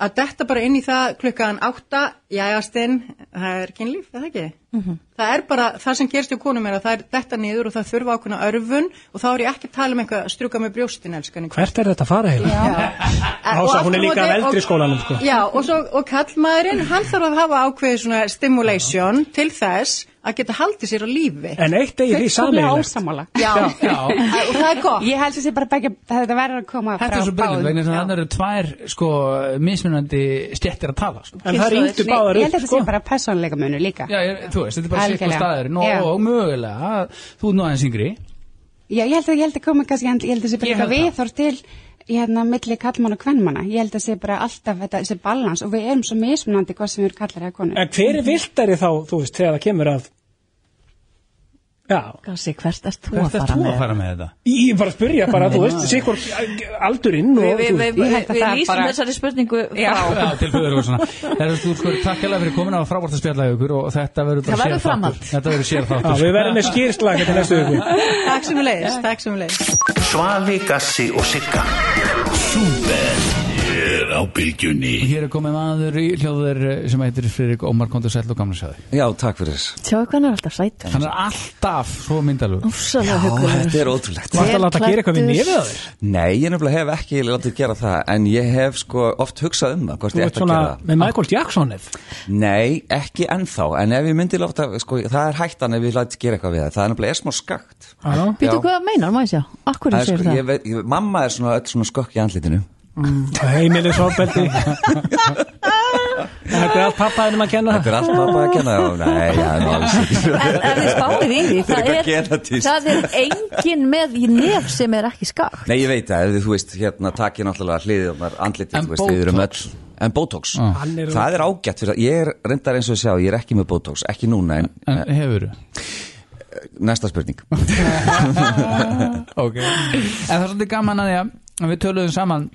að detta bara inn í það klukkan átta, jæjastinn, það er kynlíf, er það ekki?
Mhm.
Það er bara, það sem gerst hjá konum er að það er detta niður og það þurfa ákveðna örfun og þá er ég ekki að tala um eitthvað að struka með brjóstin, elskan. ykkur.
Hvert er þetta að fara heila?
Eh,
Ása,
og
hún er
aftur á
líka
móti-
af eldri
og-
skólanum, sko.
Já, og, svo, og kallmaðurinn, hann þarf að hafa ákveðið svona stimulation til þess að geta haldið sér á lífi.
En eitt eigið því
Fullkomlega
sameiginlegt.
ósammála
Já,
Já.
Eh, og það er gott.
ég held að sé bara begge, þetta verður að koma
Þetta er
frá
svo byrjun,
báðum.
vegna þess að þannig eru tvær sko, mismunandi stjettir að tala sko.
En það ringdu
Nei,
báðar
ég held
upp,
að þetta
sko.
sé bara persónleika munur líka
Já, ég, þú veist, þetta er bara sikkur
Algjörlega.
staðurinn og,
Já.
og mögulega, þú er nú aðeins yngri
Já, ég held að, ég held að koma kannski, ég held- ég held að sé bara
Ég
eitthvað
held það.
viðhorf til hérna, milli kallmann og kvennmanna. Ég held að sé bara alltaf þetta, þessi balans og við erum svo mismunandi hvað sem við erum kallar eða konur.
En hver er viltari þá, þú veist, þegar það kemur að Já,
Gassi, hvert ert þú að
Hvert er
fara
þú að
með?
fara með þetta?
ég er bara að spurja bara, þú veist, sikkur aldurinn og
Við,
þú
við,
veist,
við,
Ég held að
við
það
lýsum
bara-
þessari spurningu frá.
Já, til föður og svona Herra, þú sko, takk hérlega fyrir komin á frábært að spjalla hjá ykkur og þetta verður
Það
bara
verður framhald.
sérþáttur Þetta verður
Já,
sérþáttur
við verðum með skýrslag til næstu viku.
Takk sem við leiðist, takk sem við leiðist.
Svali, Gassi og Sigga Súper Ég er á
Og
bylgjunni
Hér er komið maður í hljóður sem heitir Friðrik Ómar Kondur Sæll og gamla sæði
Já, takk fyrir.
Sjáu hvað hann er alltaf sætur.
Hann er alltaf svo myndalug
Úrsalega
Já, þetta
hugulegur.
er ótrúlegt.
Varst að láta
Vel
gera eitthvað við
klæddur.
nefið að þér?
Nei, ég nefnilega hef ekki látið gera það, en ég hef sko oft hugsað um það, hvort
Þú
ég
ert
ætti að
svona
gera það. Ah,
með Michael Jackson ef
Nei, ekki ennþá, en ef ég myndi láta, sko, það er hættan ef ég látið gera eitthvað við það, það er nefnilega er smá skakt.
Já.
Býtu,
Já.
hvað meinar, má ég sjá? Akkur
Það er
segir
sko,
það? Mm.
ég veit, ég, mamma er svona öll svona skökk í andlitinu.
heimilis ofbeldi Þetta er allt pappaðinum að kenna
Þetta er allt pappa að kenna, já, nei, já, ná, alls ekki.
En ef þið spáðir í því,
Þetta er
það
eitthvað
er,
genetískt.
það er engin með í nef sem er ekki skakt.
Nei, ég veit það, ef þú veist, hérna takið náttúrulega hliðið þarna andlitið,
En
þú veist, við erum
Botox?
öll En botox,
Hann er-
það er ágætt fyrir það, ég er reyndar eins og ég sjá, ég er ekki með botox, ekki núna en Eh,
En hefur
næsta spurning
Ok En það er svolítið gaman að því að við töluðum saman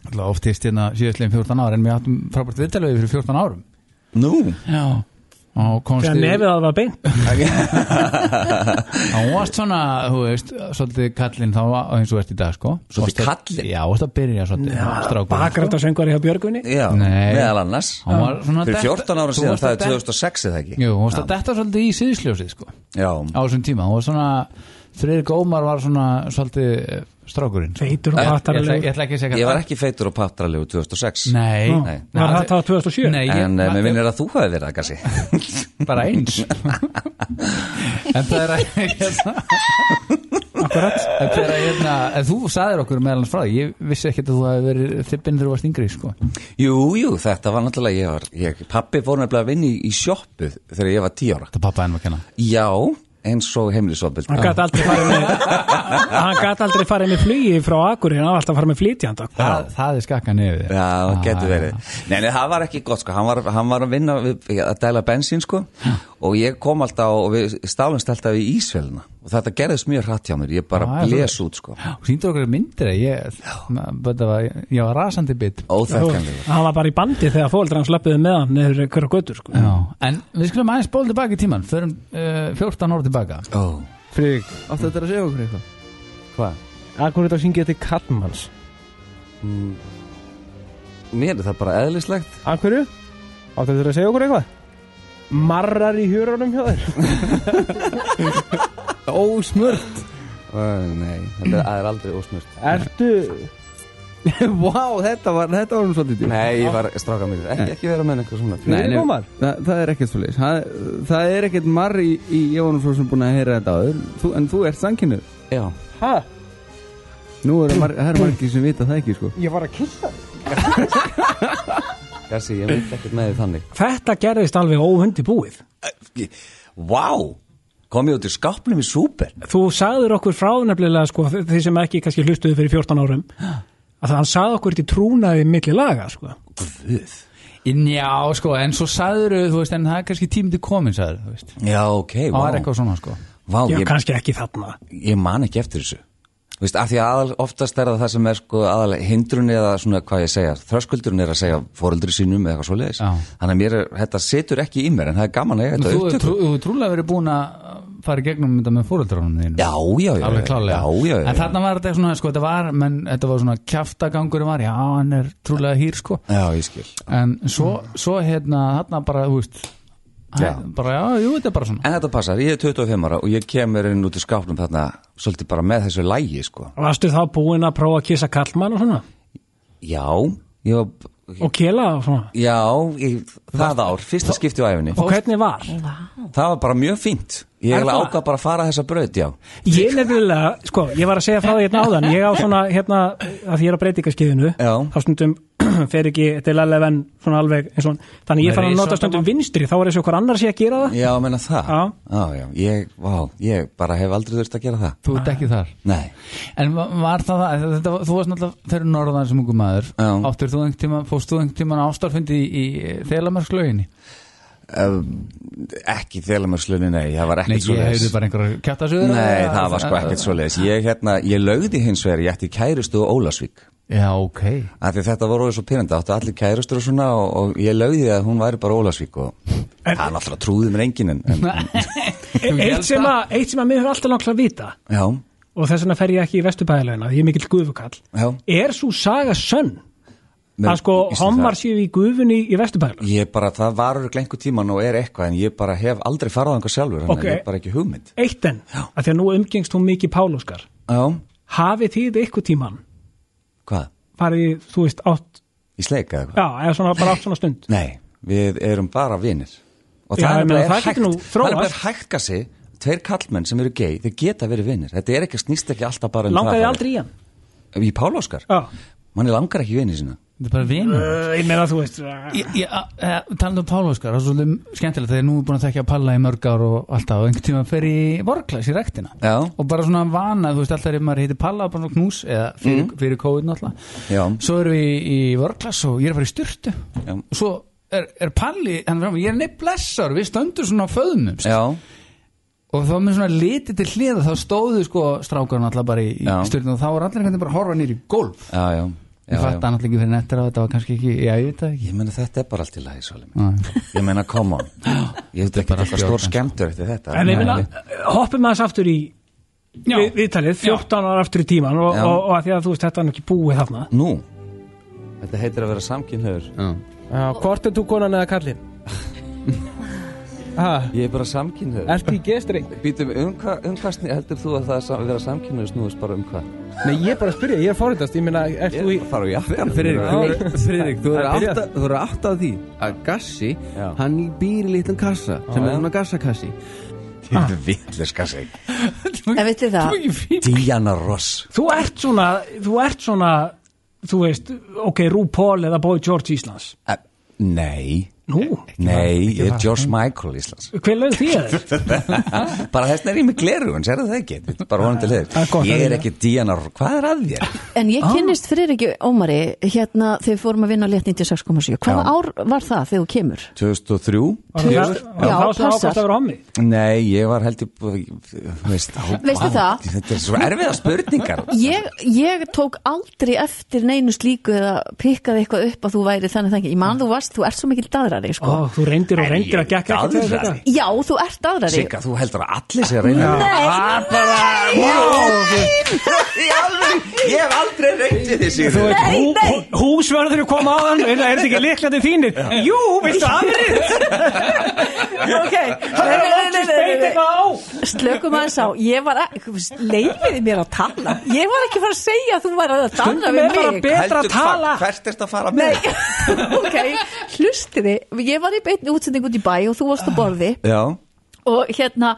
Alltaf oftist hérna síðastlegin 14 ára en við áttum frábært viðtalið fyrir 14 árum
Nú,
Já Og komst
Þegar nefið að það var beint
Já, hún varst svona, þú veist, svolítið kallinn þá eins og ert í dag, sko
Svolítið
Varst að-
kallinn?
Já, þú veist að byrja svolítið strákur
Bakrætt á söngvari hjá Björgunni
já,
Nei.
meðal annars
Hún var svona
Fyrir
detta-
14 ára
þú
síðan,
varst
það
að
er
detta-
2006 eða ekki
Jú, hún varst að detta svolítið í síðsljósið, sko
Já,
Á þessum tíma, hún var svona Friðrik Ómar var svona svolítið eh, strákurinn sko.
Feitur og
Ég ætla-
hattaralegur.
Ég ætla ekki að segja
Eh, ég var ekki feitur og pattralegu 2006
Nei
Nei.
Var það það 2007?
Nei, ég-
En eh, mér vinnir að þú hafi verið það, kannski
bara eins En það er að
akkurat
En Hver að hérna, en þú sagðir okkur meðal hans frá því, ég vissi ekkert að þú hefði verið þippinn þegar þú varst yngri, sko.
Jú, jú, þetta var náttúrulega, ég var, ég, pappi fór nefnilega að vinna í, í sjoppu þegar ég var 10 ára.
Það pappa henn var að kenna.
Já, eins og heimilisofbeldi.
hann gæti aldrei farið með hann gæti aldrei farið með flugi frá Akurinn hann var alltaf farið með flytjanda sko.
Það, það er skakkan yfir þér.
Já, það
Ah,
getur verið. Nei, nei, það var ekki gott, sko. Hann var, hann var að vinna við, að dæla bensín, sko. Og ég kom alltaf og við stálumst alltaf í ísvelina. Og þetta gerðist mjög hratt hjá mér. Ég bara
Já, já,
bles út, sko.
Þú síndur okkur myndir að ég, na, þetta var, ég var rasandi bit.
Óþekkanlegur.
hann var bara í bandi þegar fóldra hans löpuði með hann nefnir hverja götur sko.
Já, en við skulum aðeins bóla tilbaka í tíman, förum uh, 14 ára tilbaka.
Ó,
Frigg, áttu þetta að segja okkur eitthvað?
hvað?
Akkur þetta syngið þetta kallmanns
Mm. Mér er það bara eðlislegt.
Akkur, áttu þetta að segja okkur eitthvað? Marrar í hjörunum hjá þér Ósmurt
Ó, nei, þetta er- það er aldrei ósmurt.
Ertu Vá, þetta var, þetta var nú svolítið djúpt.
Nei, ég var stráka mér. Ekki, ekki vera með eitthvað svona.
Nei, nei,
Fyrirgóma.
það, það er ekkert svolítið það, það er ekkert marr í, í Ég var nú svo sem búin að heyra þetta áður þú, En þú ert sankinuð
Já.
ha,
Nú eru mar, það er margir sem vita það ekki sko
ég var að kissa
Gassi, ég veit ekkert með því þannig.
þetta gerðist alveg óhundi búið
Vá! Kom ég út í skapnum í súper.
þú sagðir okkur frá nefnilega sko, þeir sem ekki kannski hlustuðu fyrir 14 árum að hann sagði okkur þetta í trúnaði milli laga sko.
Guð.
Já, sko, en svo sagður þú veist, en það er kannski tímið til komin, sagður, þú veist.
Já, ok, vá.
Það var eitthvað svona, sko.
Vá,
já,
ég,
kannski ekki þarna
ég man ekki eftir þessu Vist, af því að aðal, oftast er það það sem er sko aðal hindrun eða svona hvað ég segja þröskuldurinn er að segja fóreldri sínum eða eitthvað svoleiðis,
Já.
þannig að mér er, þetta situr ekki í mér en það er gaman að eiga
Þú
þetta
hefur
upptöku
trú, þú hefur trúlega verið búin að fara í gegnum þetta með fóröldránum þínu.
Já, já, já,
alveg
já,
klálega
já, já,
en þarna var þetta svona, sko, þetta var menn, þetta var svona kjaftagangur var, já, hann er trúlega hýr, sko
já, ég skil
en svo, svo hérna, þarna bara, þú veist
Já.
hæ- bara, já, jú, þetta er bara svona
En þetta passar, ég er 25 ára og ég kemur inn út í skápnum þarna svolítið bara með þessu lægi sko
varstu þá búin að prófa að kissa kallmann og svona
Já, ég var,
og kela og svona
já, ég, það ár, fyrsta skipti á æfinni
og hvernig var?
Það var bara mjög fínt, ég
Er það?
ákvað bara að fara þessa braut, já
Ég nefnilega, sko, ég var að segja frá því hérna áðan ég á svona, hérna, að því ég er á breytingaskeiðinu
Já.
þá stundum fer ekki til alveg en svona alveg eins og hann. þannig ég
Með
fann að nota
risastóra.
stundum vinstri þá er eins og okkur annar sé að gera það
Já, menna það
Já.
já, já. Ég, vá, ég bara hef aldrei þurft að gera það
þú ert ekki þar
Nei,
en va- var það það, þetta, var- þú varst náttúrulega þegar norðan sem ungu maður
Já.
áttur þú einhvern tíma, fórst þú einhvern tíma ástarfundi í, í þelamarslauginni
um, ekki þelamarslunni, nei, það var ekkert
nei, ég hefði
svoleiðis
bara einhverja kjaftasögur
Nei, það var sko ekkert svoleiðis Ég, hérna, ég lögði hins vegar, ég ætti kærustu og Ólasvík
já, ok,
Af því þetta voru svo pyrrandi, áttu allir kærustur og svona og, og ég lögði að hún væri bara Ólasvík og það er náttúrulega trúði mér enginn en, en,
E- eitt sem, að, eitt sem að mér er alltaf langt að vita
Já,
og þess vegna fer ég ekki í vesturbæðilegina ég er mikill guðukall
já
er svo saga sönn
Men
að sko
víst er
homar
það-
séu í guðunni í vesturbæðilegina
Ég bara, það varur glengu tíman og er eitthvað en ég bara hef aldrei farað einhver sjálfur þannig
Ok.
að ég hef bara ekki hugmynd
eitt enn, að því að nú umgengst hún mikið Páloskar
Já,
hafið þið eitthvað tíman
hvað?
farið, í, þú veist, átt
Í sleik eða hvað?
já, eða svona bara átt svona stund
Nei, við erum bara vinir og
Já,
það
ég
er
meina,
bara
það
hægt
getur nú
það er bara
þróast.
hægt kassi, tveir kallmenn sem eru gei þeir geta verið vinir, þetta er ekki snýst ekki alltaf bara um
langaði
það
þið aldrei í hann
aldrei í Pál Óskar,
já,
manni langar ekki vinir sína
þetta er bara vinur
uh, ég meina þú veist
Ég, ég, talandi um Pála Óskar, það er svolítið skemmtilegt þegar nú er búin að tekja Palla í mörg ár og alltaf og einhvern tíma fer í vorklæs í rektina
Já.
og bara svona vana, þú veist alltaf ef maður heitir Palla bara svona knús eða fyrir, fyrir COVID náttúrulega
Mhm. Já.
svo erum við í, í vorklæs og ég er að fara í styrtu
Já.
og svo er, er Palli, hann er fram, ég er neitt blessar við stöndum svona á föðmumst
Já,
og þá með svona litið til hliða þá stóðu sko strákarinn alltaf bara í, í
Já.
styrtu og þá var allir einhvern veginn bara að horfa nýr í golf
já, já, já,
ég fatt
já.
annað ekki fyrir nettir á þetta var kannski ekki, já ég veit það ekki
Ég meina þetta er bara allt í lagi svolítið
Nei.
Ég meina come on Ég veit ekki eitthvað
bara allt í
stór
orden, sko.
skemmtur eftir þetta
en ég meina, hoppum aðeins aftur í
Já.
við- viðtalið, 14 ára aftur í tíman og,
Já.
og, og að því að þú veist, þetta er nú ekki búið þarna
Nú, þetta heitir að vera samkynhöður
Já.
já, hvort er þú konan eða kallin?
ha,
Ég er bara samkynhöður
Ertu í gestreng?
Býtum, um hvað um hva heldur þú að það að sam- vera samkynhöður snúðist bara um hvað?
Nei, ég er bara að spyrja, ég er fórhættast Ég meina, ert
Ég
þú í
er bara að fara á jakkann.
Friðrik, þú- Friðrik, þú er
Það byrjar.
átt að- þú er átt að því að Gassi,
Já.
hann býr í litlum kassa sem er svona gassakassi
Þetta er vitleska seg
En veitir það,
Diana Ross
Þú ert svona, þú ert svona þú veist, ok, Rú Paul eða Boy George Íslands
Eh, Nei,
Nú,
nei, ég er George Michael Íslands
hver lög því að þér?
Bara þess vegna er ég með glerugun, sér það ekki Þetta er Bara vonum til
Það
þeir
er gott að
Ég er
heyra.
ekki Diana Ross, hvað er að þér? Ah.
en ég kynnist fyrir ekki Ómari hérna þegar við fórum að vinna á létt 96,7 Hvaða
Já.
ár var það þegar þú kemur?
2003?
Var það
Já,
þá sem
passar.
ákvæmst að vera hommi?
Nei, ég var heldur veist, á,
Veistu
vá,
það?
Þetta er svo erfiða spurningar
Ég, ég tók aldrei eftir neinu slíku eða pikkaði eitthvað upp að þú væri þannig þannig, ég man þú varst, þú ert svo mikil daðrari sko.
Ó, þú reyndir og reyndir að gekk ekki til þetta
Daðrari?
Já, þú ert daðrari
Sigga, þú heldur að allir sé að reyna Nei bara, Í alveg, ég hef aldrei reyndið því
Þú
Sigga
veit, hú- hú- Húsvörður kom á hann, er þetta ekki liklandi þínir? Jú, veistu aðrið?
Ok,
Það
nei,
er
nei,
ekki
nei,
speit
nei, nei.
eitthvað á
Slökum aðeins á, ég var að, leifiði mér að tala Ég var ekki fara að segja að þú var að tala
Stundum er
við
bara
mig
betra að
Heldur hvað,
tala
Hvert er þetta að fara með? Nei.
Ok, hlustiði, ég var í beinni útsending út í bæ og þú varst á borði
Já
og hérna,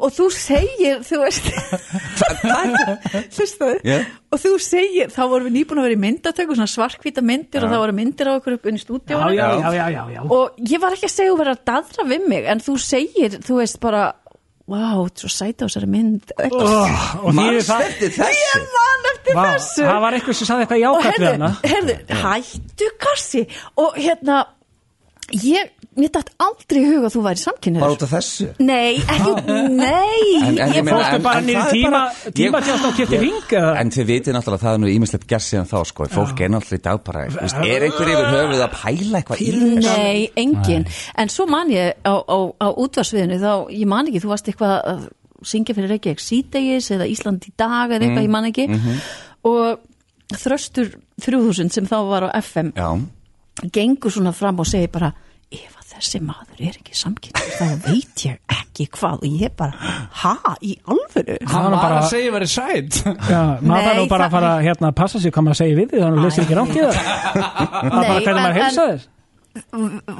og þú segir, þú veist hlustaðu,
Já.
og þú segir þá vorum við nýbúin að vera í myndatöku svona svarkvíta myndir og það voru myndir á okkur upp inn í
Já,
stúdíónu
já, já, já, já, já.
og ég var ekki að segja að vera að dadra við mig en þú segir, þú veist bara wow, svo sæta á þessari mynd eitthvað.
og því er það
Mannsvefti þessu
ég man eftir
Vá,
þessu
það var eitthvað sem saði eitthvað
og
jákvæmt við
herðu,
hana
herðu, hættu kassi og hérna ég, mér dætt aldrei í huga að þú væri samkynniður
Bara út af þessu
Nei, ekki,
En-
nei
en ég
ég
meina-
fór
Fórstu bara
en
niður
það er
tíma
bara-
tíma
ég-
til að stóð kipti ring eða?
En þið vitið náttúrulega að það er nú ímislegt gerst síðan þá sko Fólk er náttúrulega í dag bara þú veist, Er einhver yfir höfuð að pæla eitthvað í þessu?
Nei, engin En svo man ég á, á, á útvarsviðinu þá, ég man ekki, þú varst eitthvað að syngja fyrir Reykjavík síðdegis eða Ísland í dag eða eitthvað, ég
Mm,
man ekki
mhm.
Mm-hmm.
og þröstur 3000 sem þá var á FM
Já
gengur svona fram og segir bara ef að þessi maður er ekki samkynni þá veit ég ekki hvað og ég bara, ha, í alvöru
Hann
var
var
bara-
að segja verið sætt
Já, maður þarf nú
Nei,
bara
það-
að fara hérna að passa sig hvað maður segir við því þannig að lesa ekki rátt í það Það er bara
Nei,
hvernig maður
en-
heilsa þér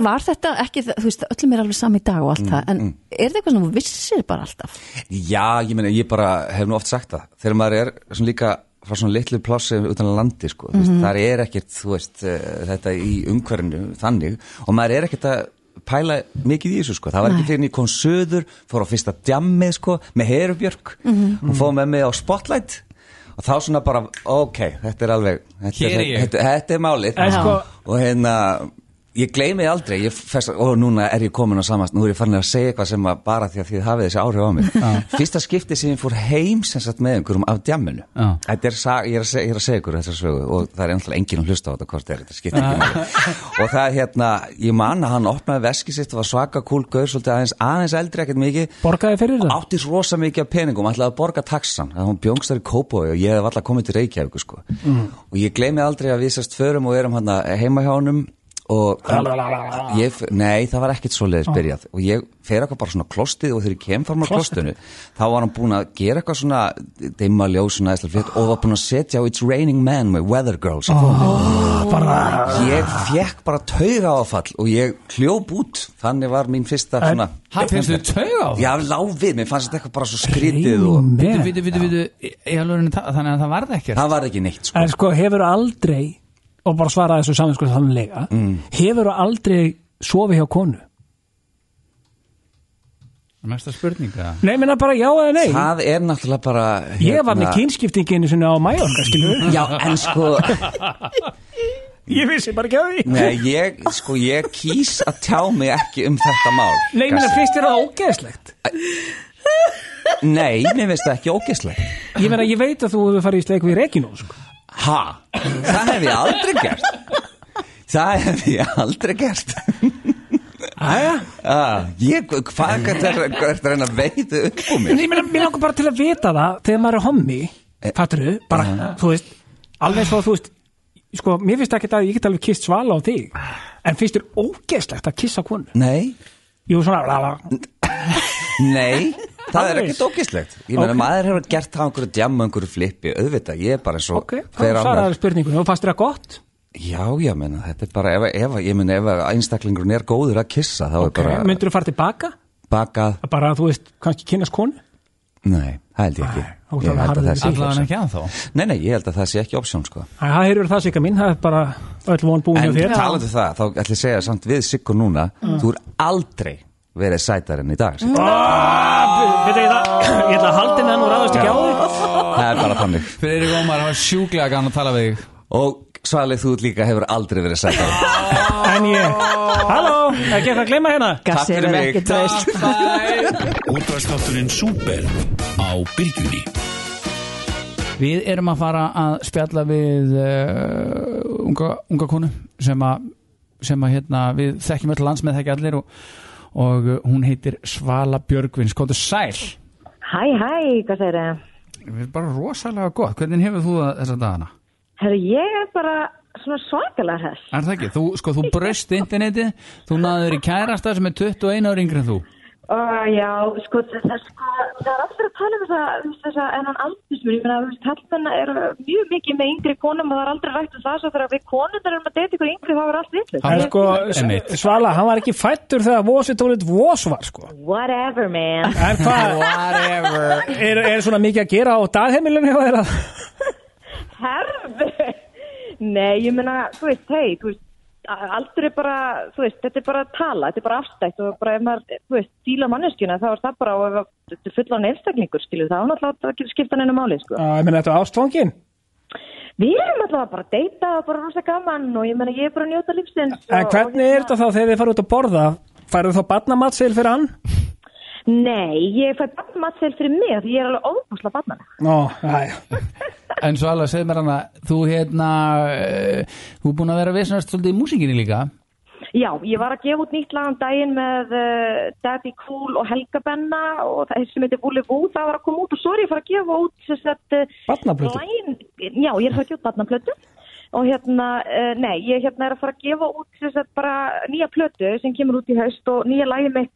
var þetta ekki, það- þú veist, öllum er alveg sami í dag og
Mm,
allt það, en er þetta eitthvað sem þú vissir bara alltaf?
Já, ég meina, ég bara hef nú oft sagt það þegar maður er svona líka frá svona litlu plássi utan að landi, sko mm -hmm. þar er ekkert, þú veist, eh, þetta í umhverfinu þannig og maður er ekkert að pæla mikið í þessu, sko það var ekki fyrir en ég kom söður, fór á fyrsta djammið, sko, með Herubjörg og fóð með mig á Spotlight og þá svona bara, ok, þetta er alveg þetta,
Hér er ég.
þetta, þetta er málið
En sko-
og hérna ég gleymi aldrei, ég fest, og núna er ég komin á samast, nú er ég farin að segja eitthvað sem að bara því að þið hafið þessi áhrif á mig fyrsta skipti sem ég fór heim sem sagt með einhverjum af djamminu
Já.
þetta er, sa- ég er að segja, ég er að segja ykkur þessar sögu og það er ennþá enginn að hlusta á þetta hvort er þetta skipti ekki máli og það er hérna, ég man að hann opnaði veski sitt og var svaka kúl gaur svolítið aðeins, aðeins eldri ekkert mikið
Borgaði fyrir það?
átti svo rosa mikið af peningum, ætlaði að borga taxan að hún bjóngst þar í Kópói og ég hef alltaf komið til Reykjavík sko.
Mm.
og ég gleymi aldrei að við sérst förum og erum hann heima hjá honum og
Ah.
ég, f- nei það var ekkit svo leiðis byrjað og ég fer eitthvað bara svona klostið og þegar ég kem fram á klostinu þá var hann búin að gera eitthvað svona dimma ljós svona æsla flétt og var búin að setja á It's Raining Man með Weather Girls
Ah, bara,
ég fekk bara tauga áfall og ég hljóp út þannig var mín fyrsta svona
Hann finnst þau tauga á það
Já, lá við, mér fannst þetta eitthvað bara svo skrítið og
Vitu, vitu, vitu, vitu í- í alvörunni það- Þannig að það varð ekkert
það var ekki neitt sko.
En sko, hefur aldrei og bara svara þessu saman sko sannlega
Mm.
hefur aldrei sofið hjá konu?
Mesta spurninga
Nei, minna bara já eða nei
Það er náttúrulega bara hérna-
Ég var með kynskiptinginu sinni á Mallorca, skilur
Já, en sko
Ég vissi bara ekki að því
Nei, ég, sko, ég kýs að tjá mig ekki um þetta mál
Nei, minna
Gassi.
finnst þér það ógeðslegt
Nei, mér finnst það ekki ógeðslegt
Ég meina, ég veit að þú hefur farið í sleik við Reginu sko.
Ha, það hef ég aldrei gert Það hef ég aldrei gert
Æja
ah, Ég, hvað gæti að ertu að reyna að veitu upp úr
En
mér?
ég meina, mér langar bara til að vita það þegar maður er hommi, fattur þau bara, þú veist, alveg svo þú veist sko, mér finnst ekki að ég get alveg kist svala á þig, en finnst þér ógeðslegt að kissa konu?
Nei,
Jú, svona, lala,
Nei, það er
Alveg?
ekkert ógislegt Ég meina,
Ok.
maður hefur gert það á einhverju djamma, einhverju flippi, auðvitað, ég er bara eins og
ok, þá
hver annar.
svaraður spurningunum og fannst þér það gott?
Já, ég meina, þetta er bara ef, ef, ég meina, ef einstaklingurinn er góður að kissa þá
Ok,
er bara,
myndur þú fara tilbaka?
bakað
bara að þú veist, kannski kynast konu
Nei, það held ég
Æ,
ekki
þú ert
Ég
alveg
held að
harður
það sé
í
ekki option
allavega ekki að þá
Nei, nei, ég held að það sé ekki option sko
Æ, það hefur það sikka mín, það er bara öll von búin
En
hjá þér Mm.
talandi um það, þá ætlum ég að segja samt við Siggo núna, þú er aldrei verið sætar enn í dag Siggo.
Veit ekki það, ég ætla að halda henni en þú ráðast ekki á þig
Það er bara þannig
Fyrir ykkur ómar, það var sjúklega gaman að tala við þig
Og Svalið, þú líka hefur aldrei verið sætar
En ég, halló, ekki eitthvað að gleyma hérna
Takk
Gassi
fyrir
er
mig.
ekki treyst
Útvarstátturinn Súper á Bylgjunni
Við erum að fara að spjalla við uh, unga, unga konu sem að, sem að hérna, við þekkjum öll lands með þekkja allir og, og uh, hún heitir Svala Björgvins, komdu sæl
Hæ, hæ, hvað segir þið?
Við erum bara rosalega gott, hvernig hefur þú það þessa dagana?
Herru, ég er bara svona svakalega hess.
Er það ekki? Þú, sko, þú braust interneti, þú náður í kærasta sem er 21 ári yngri en þú
Og já, sko, það, það, sko, það er allir að tala um það, þess að ennan aldursmur, ég meina, þú veist, hallmenn eru mjög mikið með yngri konum og það er aldrei rætt um það, svo þegar við konundar erum að deyta ykkur yngri, það var allt vitlega.
En sko,
Einmitt.
Svala, hann var ekki fættur þegar vósitólit vós var sko
Whatever, man.
En hvað, er, er svona mikið að gera á dagheimilinu hjá þér að
Herðu. Nei, ég meina, þú veist, hei, þú veist, aldrei bara, þú veist, þetta er bara að tala, þetta er bara afstætt og bara ef maður, þú veist, díla manneskjuna þá er það bara, og ef þetta er fullan einstaklingur, skilur það, þá náttúrulega að skipta neina máli, sko.
Já, ég meina þetta ástfangin
Við erum alltaf bara að deyta og bara rosa gaman og ég meina ég er bara að njóta lífsins.
En
og-
hvernig
og
er þetta þá þegar þið farið út að borða? Færðu þá barnamatsil fyrir hann?
Nei, ég fæ barnmatseil fyrir mig af því ég er alveg óbúslega barnana.
Nó, næja
En svo alveg, segð mér hana, þú hérna uh, þú er búin að vera vesnast svolítið í músinginni líka
Já, ég var að gefa út nýtt lag um daginn með uh, Daddy Cool og Helga Benna og það sem heitir Wooly Woo, það var að koma út og svo er ég að fara að gefa út sem sagt... Uh,
Barnaplötu?
Læn, já, ég er að fara að gefa út barnaplötu og hérna, uh, nei, ég hérna er að fara að gefa út sem sagt bara nýja plötu sem kemur út í haust og nýja lagi mitt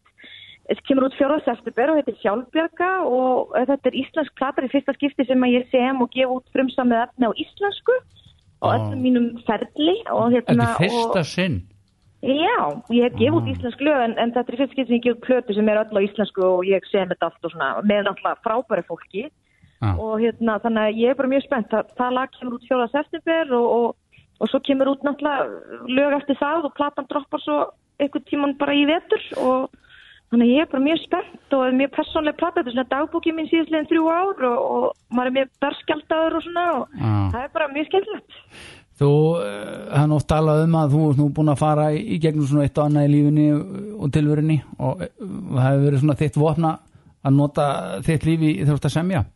sem kemur út 4. september og heitir Sjálfbjörga og eh, þetta er íslensk plata í fyrsta skipti sem að ég sem og gef út frumsamið efni á íslensku og
Ó.
öllum mínum ferli og
Þetta
hérna
er
og-
fyrsta sinn
Já, ég hef gefið út
Ah.
íslensk lög en, en þetta er fyrst skipt sem ég gefið plötu sem er öll á íslensku og ég sem þetta allt og svona með alltaf frábæri fólki
Ah.
og hérna þannig að ég er bara mjög spennt það, það lag kemur út 4. september og, og, og svo kemur út náttúrulega lög eftir það og platan droppar svo einhvern tíman bara í vetur og þannig að ég er bara mjög spennt og er mjög persónleg plata, þetta er svona dagbúki mín síðastlegin þrjú ár og, og maður er mjög berskjaldadur og svona og
Ah.
það er bara mjög skemmtilegt
Þú, eh, hann oft talað um að þú ert nú búin að fara í í gegnum svona eitt og annað í lífinni og tilverinni og eh, það hefur verið svona þitt vopna að nota þitt lífi þegar þú ert að semja.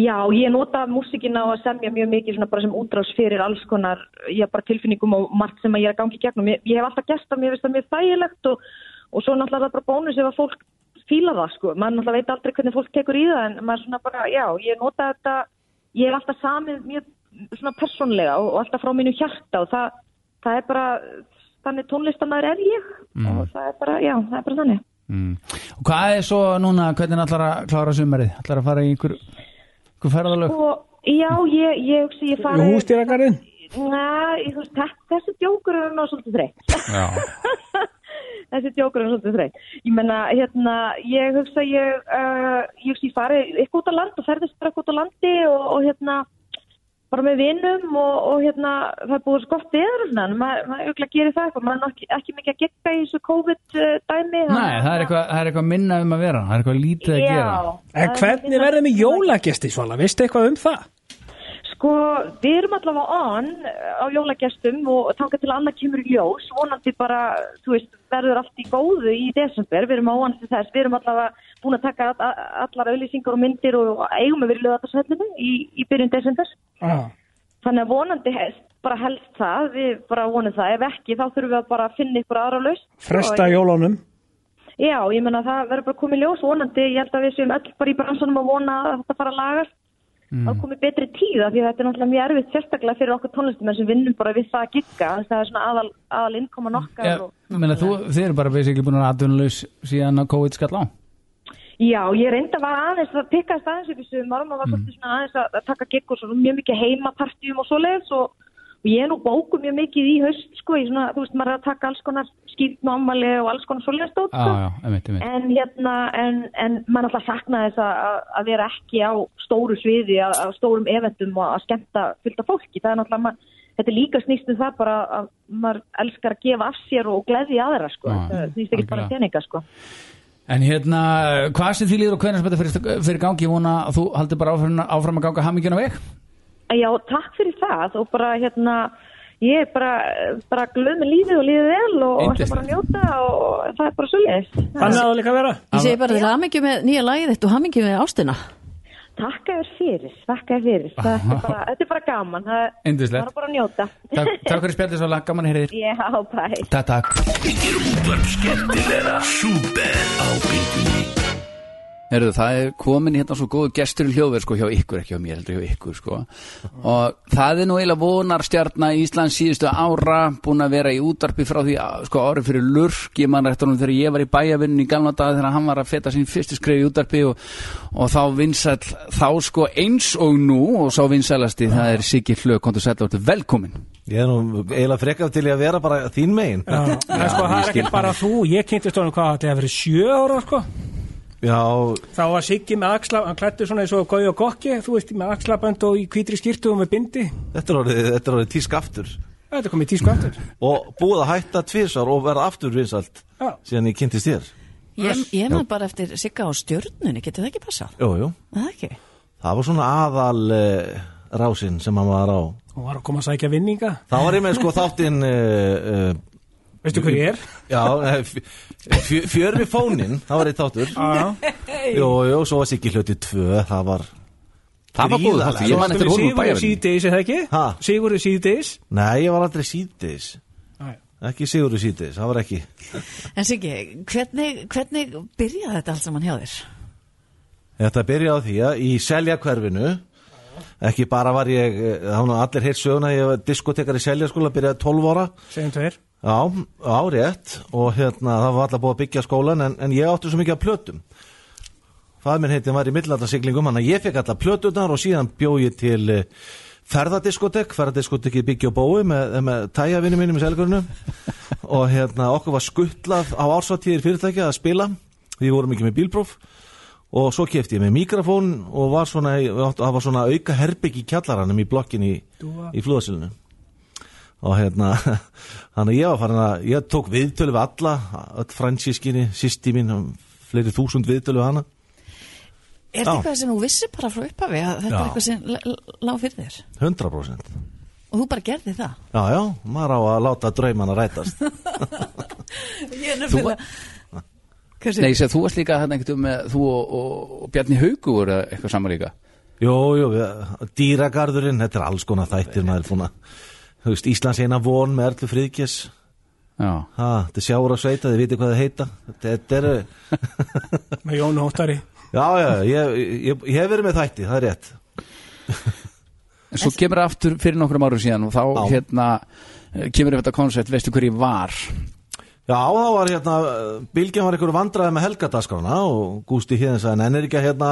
Já, ég nota músikina og að semja mjög mikið svona bara sem útrás fyrir alls konar, ég bara tilfinningum og margt sem að ég er að gangi í gegnum. Ég, ég hef alltaf gert það, mér finnst það mjög þægilegt og, og svo náttúrulega er það bara bónus ef að fólk fíla það, sko. Man náttúrulega veit aldrei hvernig fólk tekur í það en maður svona bara, já, ég nota þetta, ég er alltaf samið mjög svona persónlega og, og alltaf frá mínu hjarta og það, það er bara, þannig tónlistamæður er ég og það er bara, já, það er bara þannig.
Mm. Og hvað er svo núna, hvernig ætlar að klára sumarið? Ætlar að fara í einhver, einhver ferðalög?
Og já, ég, ég hugsi, ég fari...
Hústýragarinn?
Næ, ég þú veist, þetta- þessi djókur er náðu svolítið þreytt.
Já.
þessi djókur er náðu svolítið þreytt. Ég menna, hérna, ég hugsa ég, uh, ég hugsa ég fari eitthvað út á land og ferðist bara eitthvað út á landi og, og hérna, bara með vinnum og, og hérna, það er búið svo gott yfir og svona, en maður ma, auðvitað gerir það eitthvað, maður er nú ekki, ekki mikið að gegga í þessu uh, COVID-dæmi.
Nei, það er, eitthvað, það er eitthvað minna um að vera, það er eitthvað lítið að gera.
En hvernig verður með jólagesti svona? Vistu eitthvað um það?
Sko, við erum allavega on eh, á jólagestum og þanga til að annað kemur í ljós, vonandi bara, þú veist, verður allt í góðu í desember, við erum á on til þess, við erum allavega búin að taka all- allar auðlýsingar og myndir og eigum að vera lögatarsvellinu í, í byrjun desember.
Ah.
Þannig að vonandi helst, bara helst það, við bara vonum það, ef ekki þá þurfum við að bara finna ykkur aðra lausn.
Fresta
Og-
jólunum?
Já, ég menna það verður bara komið ljós vonandi, ég held að við séum öll bara í bransunum að vona að þetta fara að lagast mm. að komið betri tíða því að þetta er náttúrulega mjög erfitt sérstaklega fyrir okkur tónlistumenn sem vinnum bara við það að gigga, þess að það er svona aðal, aðal innkoman okkar
Mm. Já,
og,
ég meina, þú, þið eru bara basically búin að aðdunlaus síðan að COVID skall á.
Já, ég reynda að vara aðeins að pikkaðist
Mm.
aðeins upp í sumar og maður var svolítið svona aðeins að, að taka gigg og svona mjög mikið heimapartíum og svoleiðis og, og ég er nú bóku mjög mikið í haust sko, í svona, þú veist, maður er að taka alls konar skýrn ámali og alls konar svoleiðast dót
Já,
sko.
já, einmitt, einmitt
En hérna, en, en maður alltaf saknaði þess að- að að vera ekki á stóru sviði, að, að stórum eventum og að skemmta fylgta fólki. Það er náttúrulega, maður, þetta er líka snýst um það bara að maður elskar að gefa af sér og gleði aðra, sko.
Já,
það snýst ekki bara
algjörlega.
um peninga, sko.
En hérna, hvað sem því líður og hvernig sem þetta fyrir, fyrir gangi, ég vona að þú haldir bara áfram, áfram að ganga hamingjuna veg
Já, takk fyrir það og bara, hérna, ég er bara, bara glöð með lífið og lífið vel og ætla bara að njóta og það er bara svoleiðist.
Þannig að það líka vera
Ég segi bara til hamingju með nýja lagið þitt og hamingju með ástina
Takk að þér fyrir, takk að þér fyrir. Það er bara, þetta er bara gaman, það það
Yndislegt.
er bara að njóta.
Takk, takk fyrir spjaldið svo gaman að heyra þér
Já, bæ.
Takk, takk
Útvarp skemmtilega Súper á bylgjunni
Herðu, það er komin hérna svo góðu gestur í hljóðverð sko hjá ykkur, ekki hjá mér heldur hjá ykkur sko og það er nú eiginlega vonarstjarnar í Íslands síðustu ára búin að vera í útarpi frá því að- sko ári fyrir lurk, ég man réttur hún þegar ég var í bæjavinnu í gamla daga þegar hann var að feta sín fyrstu skrif í útarpi og, og þá vinsall þá sko eins og nú og sá vinsallasti það er Siggi Hlöð, kontur sætla út velkomin
Ég er nú eiginlega frekar til ég að vera bara þín megin
Já, en sko, það er ekki bara þú, ég kynntist honum hvað það er að vera sjö ára sko.
Já,
þá var Siggi með axla, hann klættur svona eins og Gauja og Gokki, þú veist, með axlabönd og í hvítri skýrtu og með bindi
þetta er orðið, þetta er orðið tísk aftur
þetta er komið tísku aftur
Og búið að hætta tvisar og verða aftur vinsalt
Já.
Síðan ég kynntist þér
Ég, ég maður
Já.
bara eftir Sigga á stjörnunni, getur það ekki passað?
Jú, jú
Það ekki?
Það var svona aðal uh, rásin sem hann var á
og var að koma að sækja vinninga
Þá var ég með sko þáttinn uh, uh,
Veistu hver ég er?
Já, eh, fjö- fjö- fjör við fónin, það var eitt þáttur Jú, jú, svo var Siggi hluti tvö, það var
Það var góður
gríðarlega.
þáttur, ég man eftir honum úr
Sigurður
bæjarvinnu.
síðdeis, er það ekki?
Ha?
Sigurður síðdeis
Nei, ég var aldrei síðdeis
Nei.
Ekki Sigurður síðdeis, það var ekki
En Siggi, hvernig, hvernig byrjaði þetta allt saman hjá þér?
Þetta byrjaði á því að í selja hverfinu Ekki bara var ég, eh, það var nú allir heitt söguna Ég var diskotekar í selja skóla, byrjaði 12 ára
segjum tveir
Já, á rétt og hérna það var alltaf búið að byggja skólan en, en ég átti svo mikið að plötum Fadir minn heitin var í millallarsiglingum hann að ég fekk alltaf plötunar og síðan bjó ég til eh, ferðadiskotek, ferðadiskotek í byggja og bói með, eh, með tæjavinni mínum í selgurinu og hérna okkur var skuttlað á ársvartíðir fyrirtækja að spila því vorum ekki með bílpróf og svo kefti ég með mikrofón og var svona, í- við áttum- það var svona auka herbygg í kjallaranum í blokkinni í, í flúðasilinu og hérna þannig að ég var farin að, ég tók viðtölu við alla, öll fransískinni sýsti mín, um, fleiri þúsund viðtölu við hana
Er
Já.
þetta eitthvað sem þú vissir bara frá upphafi að þetta er
Já.
eitthvað sem l- l- lá fyrir þér?
100%
Og þú bara gerði það?
já, já, maður á að láta draumana rætast
Ég
Þú
er nefnilega... Hvað segir
Nei, ég segi, þú varst líka hérna einhvern veginn með þú og, og, og Bjarni Haugu voru eitthvað saman líka
jú, jú, við- dýragarðurinn þetta er alls konar þættir maður er búin að þú veist, Íslands eina von með Erlu Friðkjess
já,
ha, þetta er sjáur að sveita, þið viti hvað það heita þetta er,
með Jónu Hóttari
já, já, ég, ég, ég hef verið með þætti, það er rétt
En svo kemur það aftur fyrir nokkrum árum síðan og þá hérna eh, kemur upp þetta koncept, veistu hver ég var
Já, það var hérna, Bilgjan var einhverju vandræði með helgadaskrana og Gústi hérna sagði, en er ekki að hérna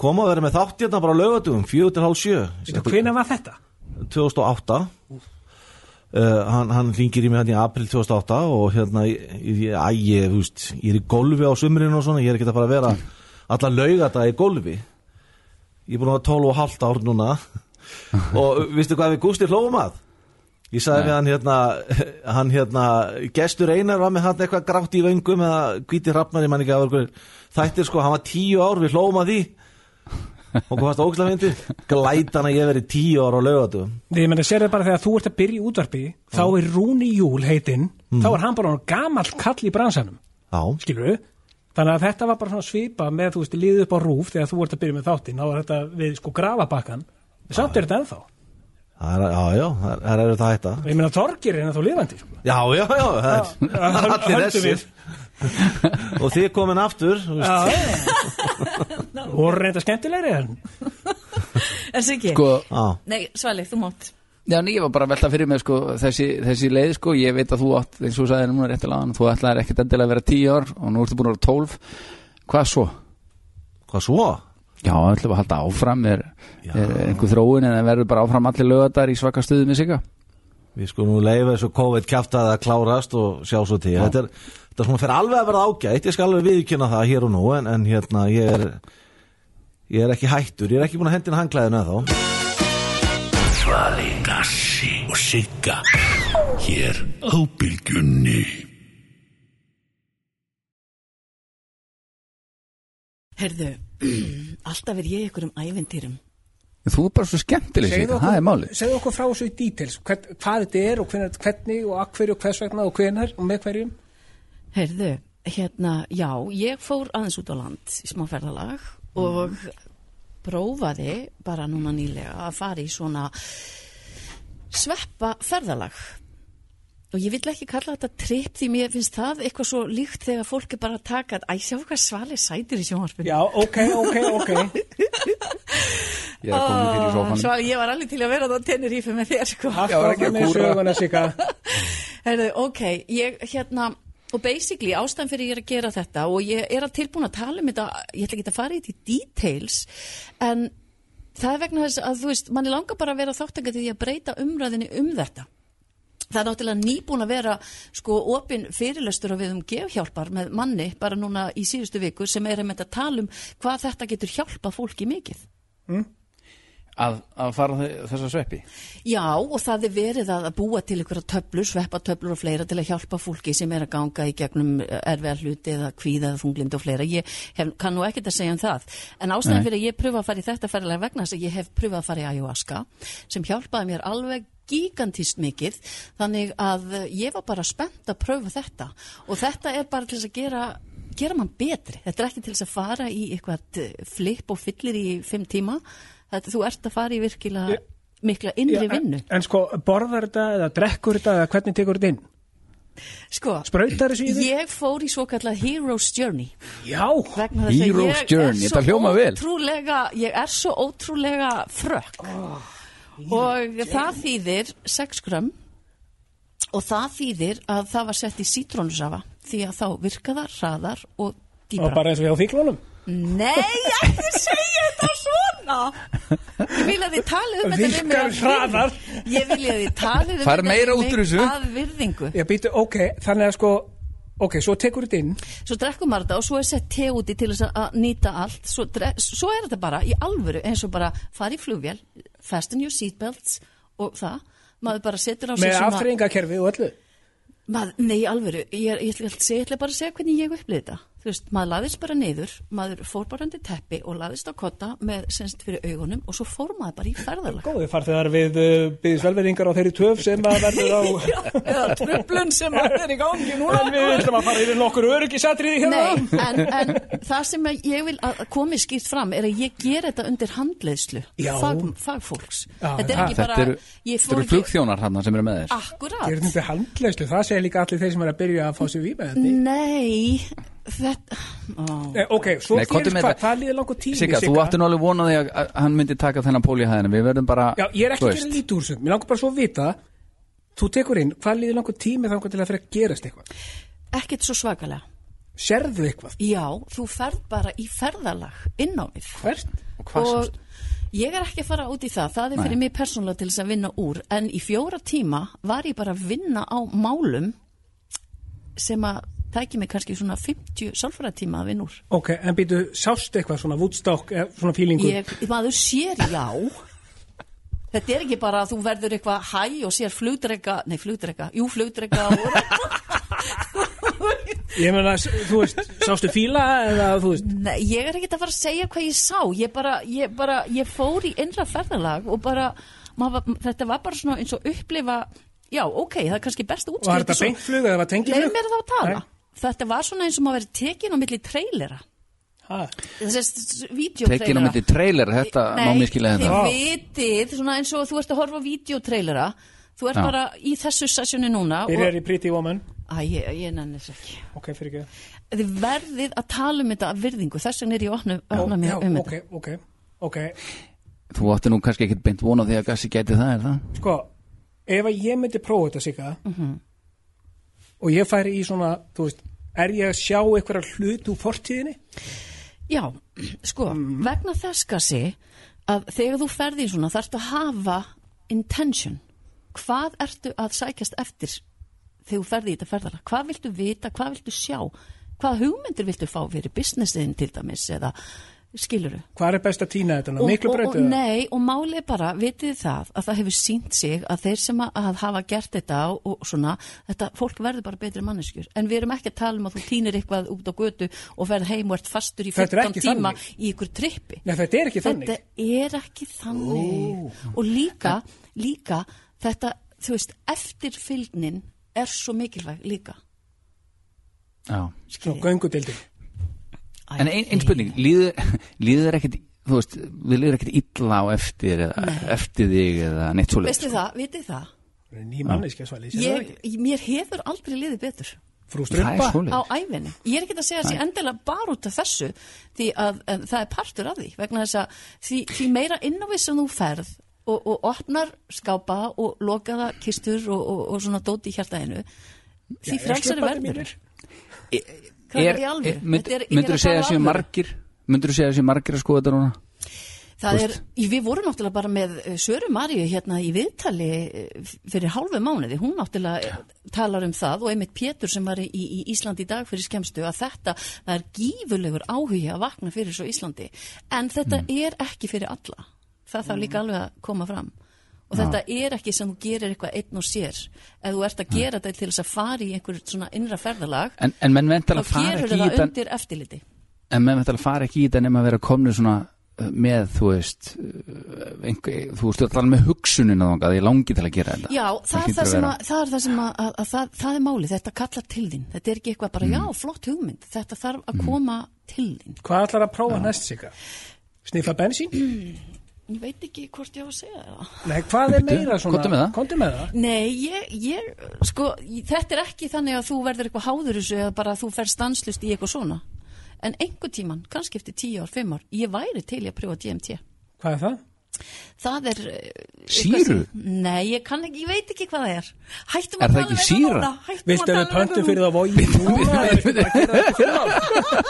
koma að vera með þátt hérna bara á lögatugum, 4.30
hvenær var þetta?
2008 uh, Eh, hann, hann ringir í mig hérna í april 2008 og hérna, ég, ég, æ, ég, þú veist, ég er í golfi á sumrinu og svona, ég er ekki að fara að vera alla laugata í golfi ég er búin að vera 12 og halvt ár núna og veistu hvað við Gústi hlófum að? Ég sagði við hann hérna, hann hérna, gestur Einar var með hann eitthvað grátt í vöngum eða hvíti hrafnar, ég man ekki að var þættir sko, hann var tíu ár, við hlófum að því og hvað varst ógæslega myndi glætan að ég verið tíu ár á laugatum
Nei, ég meina, sér það bara þegar þú ert að byrja í útvarpi þá er Rúni Júl heitinn þá er hann bara orðinn gamall kall í bransanum
Hmm. Já.
skilur við þannig að þetta var bara svona svipa með þú veist liðið upp á rúf þegar þú ert að byrja með þáttinn þá var þetta við sko grafabakkan samt er þetta ennþá
Það er- Já, já, það er- það er þetta hætta
og ég meina Torgir er ennþá lifandi sko.
Já, já, já, það er,
Já, já,
það er
höldum
allir
við.
þessir og þið komin aftur þú veist.
og reynda skemmtilegri en
En Siggi?
Sko,
Nei, Svali, þú mátt.
Já, en ég var bara að velta fyrir mig sko, þessi, þessi leið, sko, ég veit að þú átt eins og þú sagði núna réttilega áðan, þú ætlaðir ekkert endilega að vera 10 ár og nú ertu búin að vera 12 Hvað svo?
Hvað svo?
Já, ætlum við að halda áfram er, er einhver þróun en það verður bara áfram allir lögadar í svaka stuðu með siga
Við sko nú leifa þessu COVID kjaftaði að klárast og sjá svo til þetta er, þetta er svona fyrir alveg að vera ágætt ég skal alveg viðkynna það hér og nú en, en hérna ég er ég er ekki hættur, ég er ekki búin að hendina hanglaðinu eða þá
Svali, Gassi og Sigga Hér á Bylgjunni
Herðu, alltaf er ég ykkur um æventýrum
Þú er bara svo skemmtileg
Segðu
Sigga,
okkur-
það er málið
segðu okkur frá þessu í details hvern, hvað þetta er og hvernig, hvernig og að hverju og hvers vegna og hvenar og með hverjum
Herðu, hérna, já, ég fór aðeins út á land í smá ferðalag
Mm.
og prófaði bara núna nýlega að fara í svona sveppa ferðalag og ég vill ekki kalla þetta tripp því mér finnst það eitthvað svo líkt þegar fólk er bara að taka að æ, sjá hvað svali sætir í sjónvarpinu
Já, ok, ok, ok
Ég er komin fyrir sófanum.
Svali, ég var alveg til að vera það tennir ífum með þér sko.
Sika
Herðu, ok, ég hérna og basically ástæðan fyrir ég er að gera þetta og ég er að tilbúin að tala um þetta ég ætla ekki að fara í þetta í details en það er vegna þess að þú veist manni langar bara að vera þáttakandi því að breyta umræðinni um þetta það er náttúrulega nýbúin að vera sko opin fyrirlestur og við um gefhjálpar með manni bara núna í síðustu viku sem er einmitt að tala um hvað þetta getur hjálpað fólki mikið
að, að fara þe- þessa sveppi
Já, og það er verið að að búa til ykkur töflur, sveppa töflur og fleira til að hjálpa fólki sem er að ganga í gegnum eh, erfiða hluti eða kvíða eða þunglind og fleira. Ég hef, kann nú ekkert að segja um það. En ástæðan
Nei.
fyrir að ég pröfa að fara í þetta ferðalega vegna þess að ég hef pröfað að fara í ayahuasca sem hjálpaði mér alveg gigantist mikið þannig að eh, ég var bara spennt að pröfa þetta og þetta er bara til þess að gera gera mann betri. Þetta er ekki til þess að fara í eitthvað eh, flip og fyllir í fimm tíma. Þetta, þú ert að fara í virkilega mikla innri
Já, en-
vinnu
En sko, borðar þetta eða drekkur þetta eða hvernig tekur þetta inn?
sko,
Sprautar þessu í þig?
ég fór í svo kallað Hero's Journey
já,
vegna þess að
Hero's
ég
Journey,
er svo
þetta hljómar vel.
ótrúlega ég er svo ótrúlega frökk
Oh,
og það þýðir 6 grömm og það þýðir að það var sett í sítrónusafa því að þá virka það hraðar og dýbra
Og bara eins og hjá þýklónum?
Mm. Nei, ekki segja þetta svona Ég vil að þið talið um þetta við mig
Virkar
af
hraðar.
virðingu. Ég vil að þið talið um
Far
þetta
meira
við
út úr
mig
þessu.
Af virðingu
Já, býtu, ok, þannig að sko Ok, svo tekur þetta inn
svo drekkum maður þetta og svo er sett te úti til þess að- að nýta allt svo, dre- svo er þetta bara í alvöru eins og bara fara í flugvél fasten your seatbelts og það maður bara setur á sig
Með aftreyingakerfi og öllu
maður, nei, í alvöru, ég, er- ég, ætla, ekki að segja, ég ætla bara að segja hvernig ég upplýði þetta þú veist, maður laðist bara niður maður fór bara undir teppi og laðist á kotta með senst fyrir augunum og svo fór maður bara í ferðalag
Góði farþegar við uh, byggðis velverðingar á þeirri töf sem að verður á
eða tröflun sem maður er í gangi núna
En við ætlum að fara yfir nokkur öryggisatriði hérna
Nei, en, en það sem að ég vil að komi skýrt fram er að ég ger þetta undir handleiðslu
Já.
fag, fagfólks
Já,
þetta er
já. Ah,
ekki
Þetta
bara
eru,
ég
þetta
fór
eru
ekki
flugþjónar hann sem eru með þér
akkurat
Gerðum þetta handlæslu, það segir líka allir þeir sem er að byrja að fá sér vímað
nei þetta
Eh, Ok, svo
Nei, komdu
gerist
með
hvað,
þetta.
hvað liðið langur tími
Sigga, þú átti nú alveg vona því að að hann myndi taka þennan pól í hæðina Við verðum bara
Já, ég er ekki
þú
að
veist.
gera lítið úr þessu, mér langar bara svo að vita Þú tekur inn, hvað liðið langur tími þangar til að fyrir að gerast eitthvað
ekkert svo svakalega
Sérðu eitthvað?
já, þú ferð bara í ferðalag inn á mig
hvert?
og
hvað sástu? Ég er ekki að fara út í það, það er
Nei.
fyrir mig persónulega til þess að vinna úr, en í fjóra tíma var ég bara að vinna á málum sem að tæki mig kannski svona 50 sálfræðtíma að vinna úr.
Ok, en býtu, sástu eitthvað svona Woodstock, eh, svona fílingu
ég, maður sér já þetta er ekki bara að þú verður eitthvað hæ og sér flugdrega, nei flugdrega jú flugdrega og
Ég meina, s- þú veist, sástu fíla eða þú veist
nei, ég er ekki að fara að segja hvað ég sá ég bara, ég bara, ég fór í innra ferðalag og bara, maður, var- þetta var bara svona eins og upplifa já ok, það er kannski best útskilt
Var þetta beintflug eða var tengiflug?
leið mér þá að tala þetta var svona eins og maður verið tekin á milli trailera
ha.
þessi
Tekin á
videotrailera
myndi trailer, þetta má hérna.
Nei,
miskilega
þið
þetta
vitið, svona eins og þú ert að horfa á videotrailera, þú ert
Já.
bara í þessu sessjónu núna
Byrjar í Pretty Woman
Æ, ég, ég nenni þess ekki
Ok, fyrir ekki
Þið verðið að tala um þetta af virðingu, þess vegna er ég að opna, opna mig
Já,
um
ok, ok, ok
Þú átti nú kannski ekkit beint vona því að Gassi gæti það, er það?
Sko, ef að ég myndi prófa þetta sigga
Mhm.
og ég færi í svona, þú veist, er ég að sjá einhverja hlut úr fortíðinni?
þetta Já, sko, vegna þess kassi að þegar þú ferði í svona þarftu að hafa intention hvað ertu að sækjast eftir þegar þú ferði í þetta ferðara hvað viltu vita, hvað viltu sjá hvað hugmyndir viltu fá fyrir businessin til dæmis eða skiluru
Hvað er best að týna þetta?
og,
Miklu
og, og,
breytið?
nei, og málið er bara, vitið þið það að það hefur sínt sig að þeir sem að, að hafa gert þetta og, og svona, þetta fólk verður bara betri manneskjur, en við erum ekki að tala um að þú týnir eitthvað út á götu og verð heim og ert fastur í
Þetta er
15
ekki
tíma
þannig.
í ykkur trippi
Nei, þetta er ekki þannig.
þetta er ekki þannig og líka, líka þetta, þú veist, eftirfylgnin er svo mikilvæg líka
Já
Svo göngudildi
En ein, ein spurning, líður, líður ekkit þú veist, við líður ekkit illa á eftir eða eftir þig eða neitt svo
veistu það, vitið það
Ný manneskja svalið
ég, mér hefur aldrei liðið betur
Frú
Það er svoleiðis.
á ævinni ég er ekki að segja að sé endilega bara út af þessu því að en, það er partur af því vegna þess að því, því meira innávið sem þú ferð og, og opnar skápa og lokaða kistur og, og, og svona dóti í hjartaðinu því frelsari verður Hvað er í alveg? Þetta er- ég er
Myndur þú
að
segja
tala
að
um
séu
alvöru.
margir myndur þú segja að séu margir að skoða þetta núna
Það
Þú
er, í- við vorum náttúrulega bara með eh, Söru Maríu hérna í viðtali eh, fyrir hálfu mánuði, hún náttúrulega eh, talar um það og einmitt Pétur sem var í, í Ísland í dag fyrir skemstu að þetta, það er gífurlegur áhugi að vakna fyrir svo Íslandi, en þetta
Mm.
er ekki fyrir alla, það þarf líka alveg að koma fram og
Já.
þetta er ekki sem þú gerir eitthvað einn og sér ef þú ert að
Mm.
gera þetta til þess að fara í einhver svona innra ferðalag
en, en menn
þá
ventar að fara
gerur
ekki í
það
þetta
undir eftirliti
en menn veit að fara ekki í þetta nema að vera komnir svona uh, með, þú veist uh, einhver, þú veist, þú ert alveg með hugsunina þangað, að ég langi til að gera þetta
Já, það er
hlýtur
það, sem
vera.
að, það er það sem að, að, að það, það er málið, þetta kallar til þín þetta er ekki eitthvað bara, já, flott hugmynd þetta þarf að koma til þín
Hvað ætlar að prófa næst sig? Sniffa bensín?
Ég veit ekki hvort ég á að segja það
Nei, hvað er
Bíddu,
meira svona?
komdu með það.
Komdu með það
Nei, ég, ég, sko, ég- þetta er ekki þannig að þú verður eitthvað háður þessu eða bara að þú fer stanslust í eitthvað svona en einhver tíman, kannski eftir 10 ár, 5 ár ég væri til í að prjófa DMT
Hvað er það?
Það er eh, eitthvað
Sýru?
sem- Nei, ég kann ekki, ég veit ekki hvað það er Hættum
Er
að
það
tala
ekki
um þetta
sýra?
núna, hættum að
Viltu að
tala um
við
þetta
pöntum fyrir það vogi núna? Það er ekki bara að gera þetta fyrir það.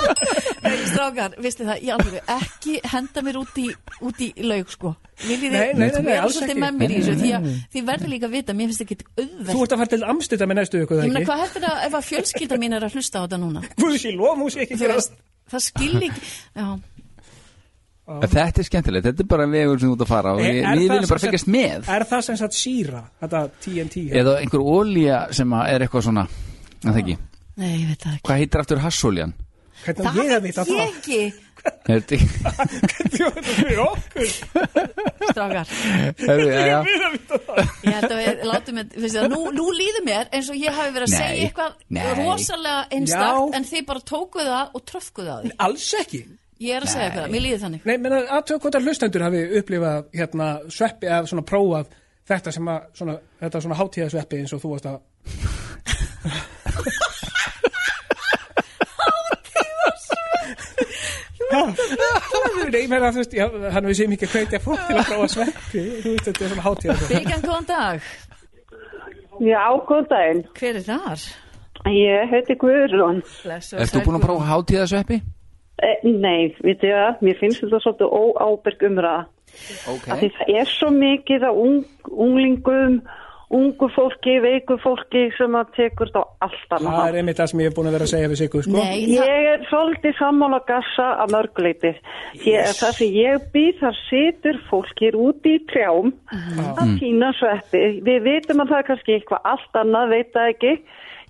Nei, strákar, vistu það, ég alveg ekki henda mér út í, út í laug, sko. Viljið þið
Nei, nei, nei, nei,
vera
alls
svolítið
ekki.
með mér í þessu,
Nei, nei,
því að þið verður líka að vita, mér finnst ekki auðvelt.
Þú ert að fara til amstita með næstu viku,
Ég
það
meina,
ekki?
hvað hefur það ef að fjölskylda mín er að hlusta á þetta núna?
Guð sé lof, hún sé ekki
Þú
gera
veist, það skilji ekki, já.
En Þetta er skemmtilegt, þetta er bara vegur sem þú ert að fara og
Er-
við,
er
við
það
viljum bara
sem
fylgjast
sagt-
með
Er það sem sagt síra, þetta TNT?
eða einhver ólía sem að er eitthvað svona en það ekki,
Nei, ég veit það ekki.
hvað heitir aftur hassóljan?
Hvernig á ég að vita
Ég
það?
ekki,
Er þetta ekki
strákar.
Herðu, jæja.
Ég held að við látum þetta, finnst það, nú, nú líður mér eins og ég hafi verið að
Nei,
segja eitthvað
nei.
rosalega
Já.
einstakt, en þið bara tókuð það og tröfkuð það á því.
Alls ekki.
Ég er að segja eitthvað, mér líður þannig.
Nei, menn að aðtöða hvort að hlustendur hafi upplifað hérna sveppi af svona prófað þetta sem að, svona, þetta svona hátíðasveppi eins og þú varst að Hátíðasveppi Nei, menn að þú veist, já, hann við séum ekki að kveitja fólk til að prófa sveppi, þú veist, þetta er svona hátíðasveppi
Birgjan, góðan dag.
Já, góð daginn.
Hver er þar?
Ég heiti Guðrún.
Ert þú búin að prófa hátíðasveppi?
Eh, Nei, vitið þið það, mér finnst þetta svolítið óáberg umræða.
Ok.
Af Því það er svo mikið af ung, unglingum, ungu fólki, veiku fólki sem að tekur þetta á allt annað.
Það er einmitt það sem ég er búin að vera að segja við Sigur, sko
ég er svolítið sammála gassa að mörguleiti. Yes. Það sem ég býð, þar situr fólk hér úti í trjám að
Mm.
týna sveppi. Við vitum að það er kannski eitthvað allt annað, veit það ekki.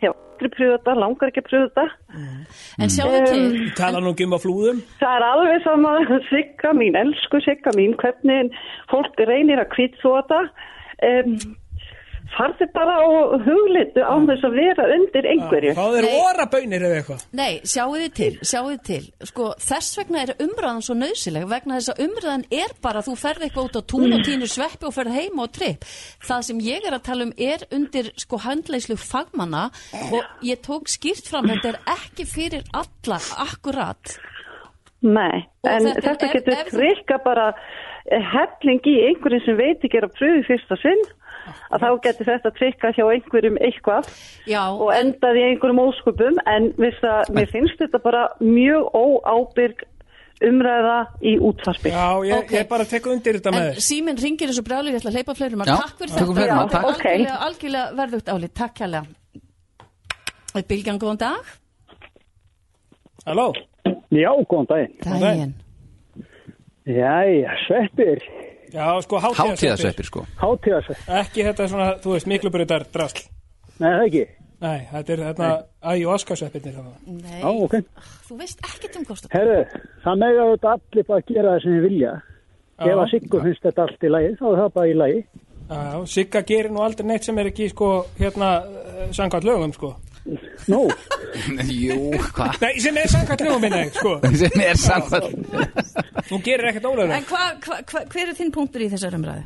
Hef aldrei pröfuð þetta, langar ekki að pröfuð þetta.
Mm.
En sjáðu til,
Tala nú ekki um að flúðum
Það er alveg sama, sigga mín, elsku sigga mín, hvernig fólk reynir að kvitt þetta. Um, farði bara á huglitu án þess að vera undir einhverju.
Það eru orabönir eða eitthvað
nei, sjáðu þið til, sjáðu þið til, sko, þess vegna er umræðan svo nöðsileg, vegna þess að umræðan er bara að þú ferð eitthvað út á tún
Mm.
og týnir sveppi og ferð heima og tripp. Það sem ég er að tala um er undir, sko, handleyslu fagmanna og ég tók skýrt fram, þetta er ekki fyrir alla akkurat.
Nei,
Og
en
þetta
þetta,
er- ef-
getur
ef þú-
trikka bara eh, helling í einhverjum sem veit ekki er að pröfu í fyrsta sinn að þá getur þetta trikka hjá einhverjum eitthvað
Já,
og endaði í einhverjum óskupum en veist það, mér finnst þetta bara mjög óábyrg umræða í útvarpi.
Já, ég, ég bara tek undir þetta með
En
þér
síminn ringir eins og brjálur, ég ætla að hleypa fleirum að
Já,
takk fyrir
tökum fleirum að,
þetta,
takk.
algjörlega, algjörlega verðugt álið, takk hérlega. Bilgjan, góðan dag.
Halló?
Já, góðan daginn.
Daginn.
Jæja, sveppir.
Já, sko, hátíðasveppir
sko.
Hátíðasveppir.
Ekki þetta svona, þú veist, miklubröðar drasl
Nei, það ekki.
Nei, þetta er þarna ayahuasca-sveppirnir þarna.
Nei,
Já, ok.
þú veist ekkert um kostum.
Herðu, það megar þetta allir bara að gera það sem þið vilja.
Já.
Ef að Siggur finnst þetta allt í lagi, þá er það bara í lagi.
Já, Sigga gerir nú aldrei neitt sem er ekki, sko, hérna, eh, samkvæmt lögum, sko.
Nú?
Jú, hvað?
Nei, sem er samkvæmt lögum minna, sko.
sem er samkvæmt
Hún gerir ekkert ólögum.
En hva, hva, hva, hver er þinn punktur í þessar umræðu?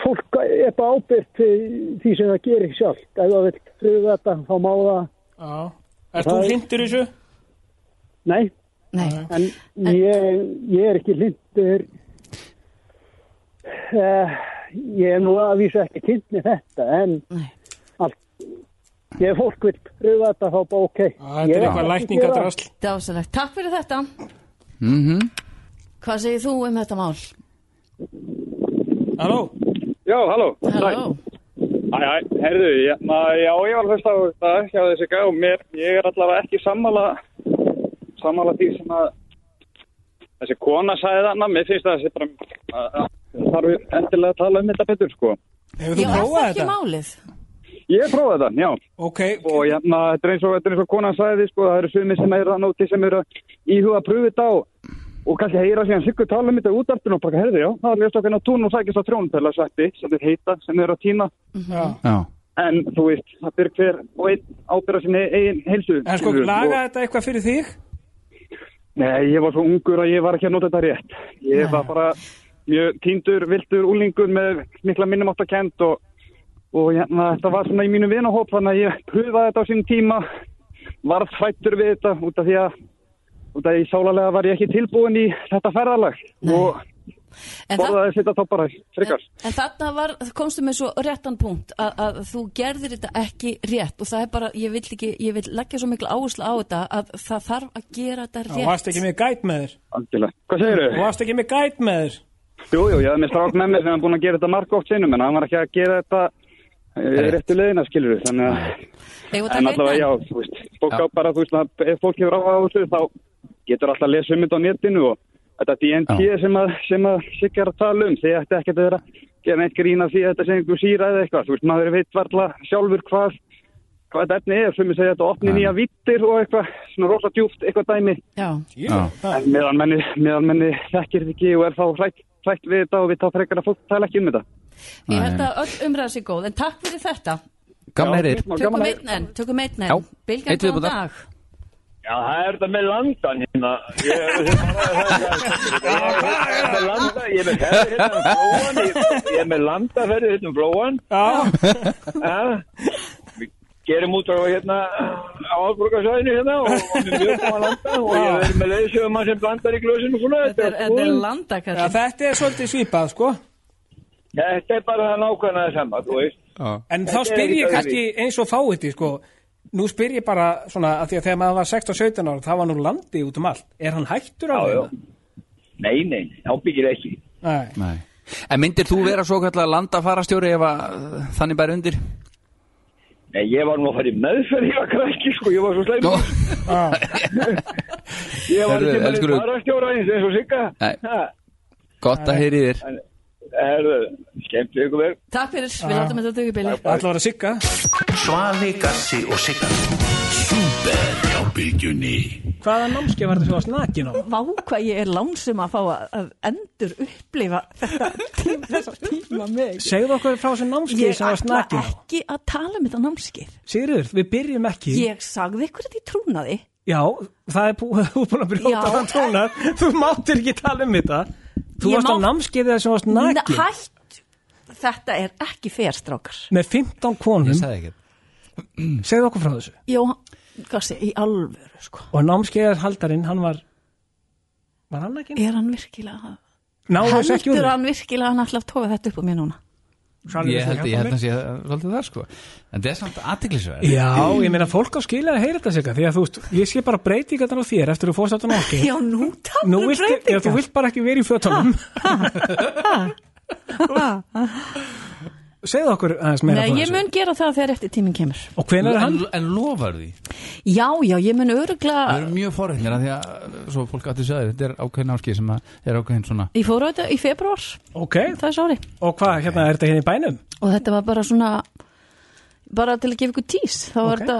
Fólk er bara ábyrgt eh, því sem það gerir sjálf. Ef það vil friða þetta, þá má það.
Já. Erst þú
Það-
hlindur þessu?
Nei.
Nei.
En ég, ég er ekki lindur. Uh, ég er nú að vísa ekki kynni þetta, en allt, ég fólk vil pröfa þetta þá bara ok. Þetta
Dásalegt, takk fyrir þetta.
mm -hmm.
Hvað segir þú um þetta mál?
Halló?
Já, halló. Halló. Æ, æ, herðu, já, ma, já, ég var hlust á þetta hjá þessi gá, mér, ég er allavega ekki sammála, sammála því sem að þessi kona sagði þarna, mér finnst að þessi bara, að- að- þarf endilega að tala um þetta betur, sko.
Hefur
Já, er það ekki málið?
Ég prófaði þetta, já.
Ok.
Og já, ma, þetta er eins og, þetta er eins og kona sagði, sko, það eru sumir sem eru að nóti sem eru að íhuga að pröfu þetta og, og kannski heyra síðan sikkur tala um þetta út aftur og bara, herðu, já, það er ljóst okkur að tún og sækist að trjónutela, sætti, sem þeir heita, sem þeir eru að týna.
Mhm.
Já.
Já.
En þú veist, það byrg hver og einn ábyrra sinni eigin heilsu.
En sko,
skilurðu,
laga
og-
þetta eitthvað fyrir þig?
Nei, ég var svo ungur að ég var ekki að nota þetta rétt. Ég var bara mjög týndur, viltur, úlingur með mikla minnumáttakend og, og hérna, þetta var svona í mínu vinahóp þannig að ég pröfaði þetta á sín tíma, varð hrættur við þetta út af því að út af því sálarlega var ég ekki tilbúin í þetta ferðalag og
En það-
borðaði þetta þá bara frekar.
En þarna var, komstu með svo réttan punkt að, að þú gerðir þetta ekki rétt og það er bara, ég vil ekki, ég vil leggja svo mikla áherslu á þetta að það þarf að gera þetta
Þú
rétt.
varst ekki með gæt með þér.
Algjörlega. Hvað segirðu?
Þú varst ekki með gæt með þér.
Jú, jú, ég hafði með strák með mér sem hann búin að gera þetta marg oft sinnum en hann var ekki að gera þetta eh, réttu leiðina, skilur við, þannig
Eigum við
að
að
en
taka
allavega,
einn
já,
enn?
þú veist, fólk á bara, þú veist, að ef fólk hefur áhuga á þessu þá getur alltaf að lesa um þetta á netinu og þetta DNT sem að, sem að Sigga er að tala um, þið ætti ekkert að vera að gera neitt grín af því að þetta sem einhver síra eða eitthvað, þú veist, maður veit varla sjálfur hvað hvað þetta efni er, sem ég segja þetta opni nýja vittir og eitthvað, svona rosa djúft, eitthvað dæmi
Já.
En meðan menni, meðan menni þekkir þetta ekki og er þá hrætt, hrætt við þetta og við þá frekar að fólk tala ekki um þetta.
Ég held að öll umræða sér góð, en takk fyrir þetta.
Gaman að heyra.
Tökum einn enn, tökum einn enn.
Já,
Bilgjarn,
einn viðbótar.
góðan dag.
Já, það er þetta með landan hérna. Ég ég er með landa, ég er með ferði hérna um flóan, ég- ég er með landaferði hérna um flóan. Já. Við gerum út á hérna á ásbrukarsvæðinu hérna og og við mjög koma að landa og ég er með leiðsögumann sem blandar í glösinu svona. cool.
Já, þetta er svolítið svipað, sko.
Þetta er bara það nákvæmlega sama, þú veist.
En þá
Þetta er
spyr
ekkert
ég
öðruvísi.
kannski eins og fáiði, sko. Nú spyr ég bara svona að því að þegar maður var 16-17 ára, þá var nú landi út um allt. Er hann hættur á það?
Nei, nei, ábyggir ekki.
Nei.
Nei. En myndir þú vera svo kallar landafarastjóri ef að uh, þannig bæri undir?
Nei, ég var nú að fara í meðferð, ég var krakki, sko, ég var svo sleim.
Ah.
ég var
Herðu,
ekki með
elskulegu-
farastjóra eins eins og sigga.
Nei.
Ha,
Gott að heyri þér
Herðu, skemmt ykkur vel.
Takk fyrir, við látum þetta tökja bili.
Alla var að sigga.
Svali, Gassi og Sigga Súper á bylgjunni
Hvaða námskeið var þetta sem varst nakin á?
Vá hvað ég er langsum að fá að að endur upplifa þetta tím- þessa tíma með. ykkur.
Segðu okkur frá þessu námskeið
Ég
sem varst
ætla
nakin á.
ekki að tala um þetta námskeið.
Sigurður, við byrjum ekki.
Ég sagði ykkur þetta í trúnaði.
Já, það er bú, þú er búin að
Já.
brjóta þann tónar. Þú máttir ekki tala um þetta.
Ég
Þú varst á
má-
námskeiði þar sem varst nakin.
Hætt, þetta er ekki férstrákar.
með 15 konum ég sagði ekki segðu okkur frá þessu
Jó, hvað sé, í alvöru sko.
og námskeiðar haldarinn, hann var var hann ekki?
Er hann virkilega
Náðu þessu ekki úr
Heldur
því?
hann virkilega að hann ætla að tóka þetta upp á mér núna?
Sannlega
ég held
hjálpa
ég held
mér.
að sé svolítið það sko en það er samt aðtiklisverð
Já, ég meina fólk á skilja að heyra þetta sig því að þú veist, ég sé bara breytingarnar á þér eftir að þú fórst þetta nokki
Já, nú talar
Nú viltu, já, þú vilt bara ekki verið í fötunum Segðu okkur aðeins meira
Nei,
frá
ég
þessu.
mun gera það þegar eftir tíminn kemur
Og hvenær er hann?
En, en lofar því
Já, já, ég mun örugla
Það eru mjög forreitnir að því að svo fólk átti að segja þér, þetta er ákveðin áskið sem að er ákveðin svona
Ég fór á þetta í februar
Ok
Þess ári
Og hvað, hérna, er þetta hérna í bænum?
Og þetta var bara svona Bara til að gefa ykkur tís Þá var þetta,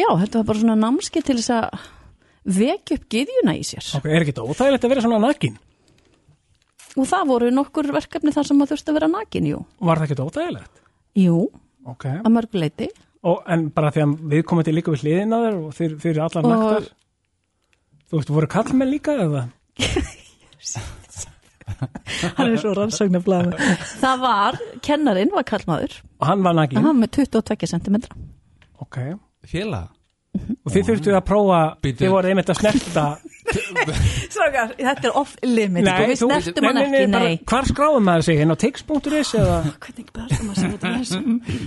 já, þetta var bara svona námski til þess að Vekja upp gyðjuna í sér
Ok, er ekki þetta óþægilegt að vera svona nakin?
Og það voru nokkur verkefni þar sem að þurfti að vera nakin, jú
Var það ekki óþægilegt?
Jú,
Ok
að mörgu leiti
og, En bara því að við komum til líka við hliðina á þér og þeir, þeir eru allar
Og-
naktar Þú veist, voru kallmenn líka eða?
Hann er svo rannsóknar blæð Það var, kennarin var kallmaður
Og hann var nakin?
Hann var með 22 cm
Ok
Félag
Og þið þurftu að prófa, þið voru einmitt að snerta
Strákar, þetta er off limit sko. Við snertum hann ekki,
bara,
nei
Hvar skráðum maður sig, inn á tix.is eða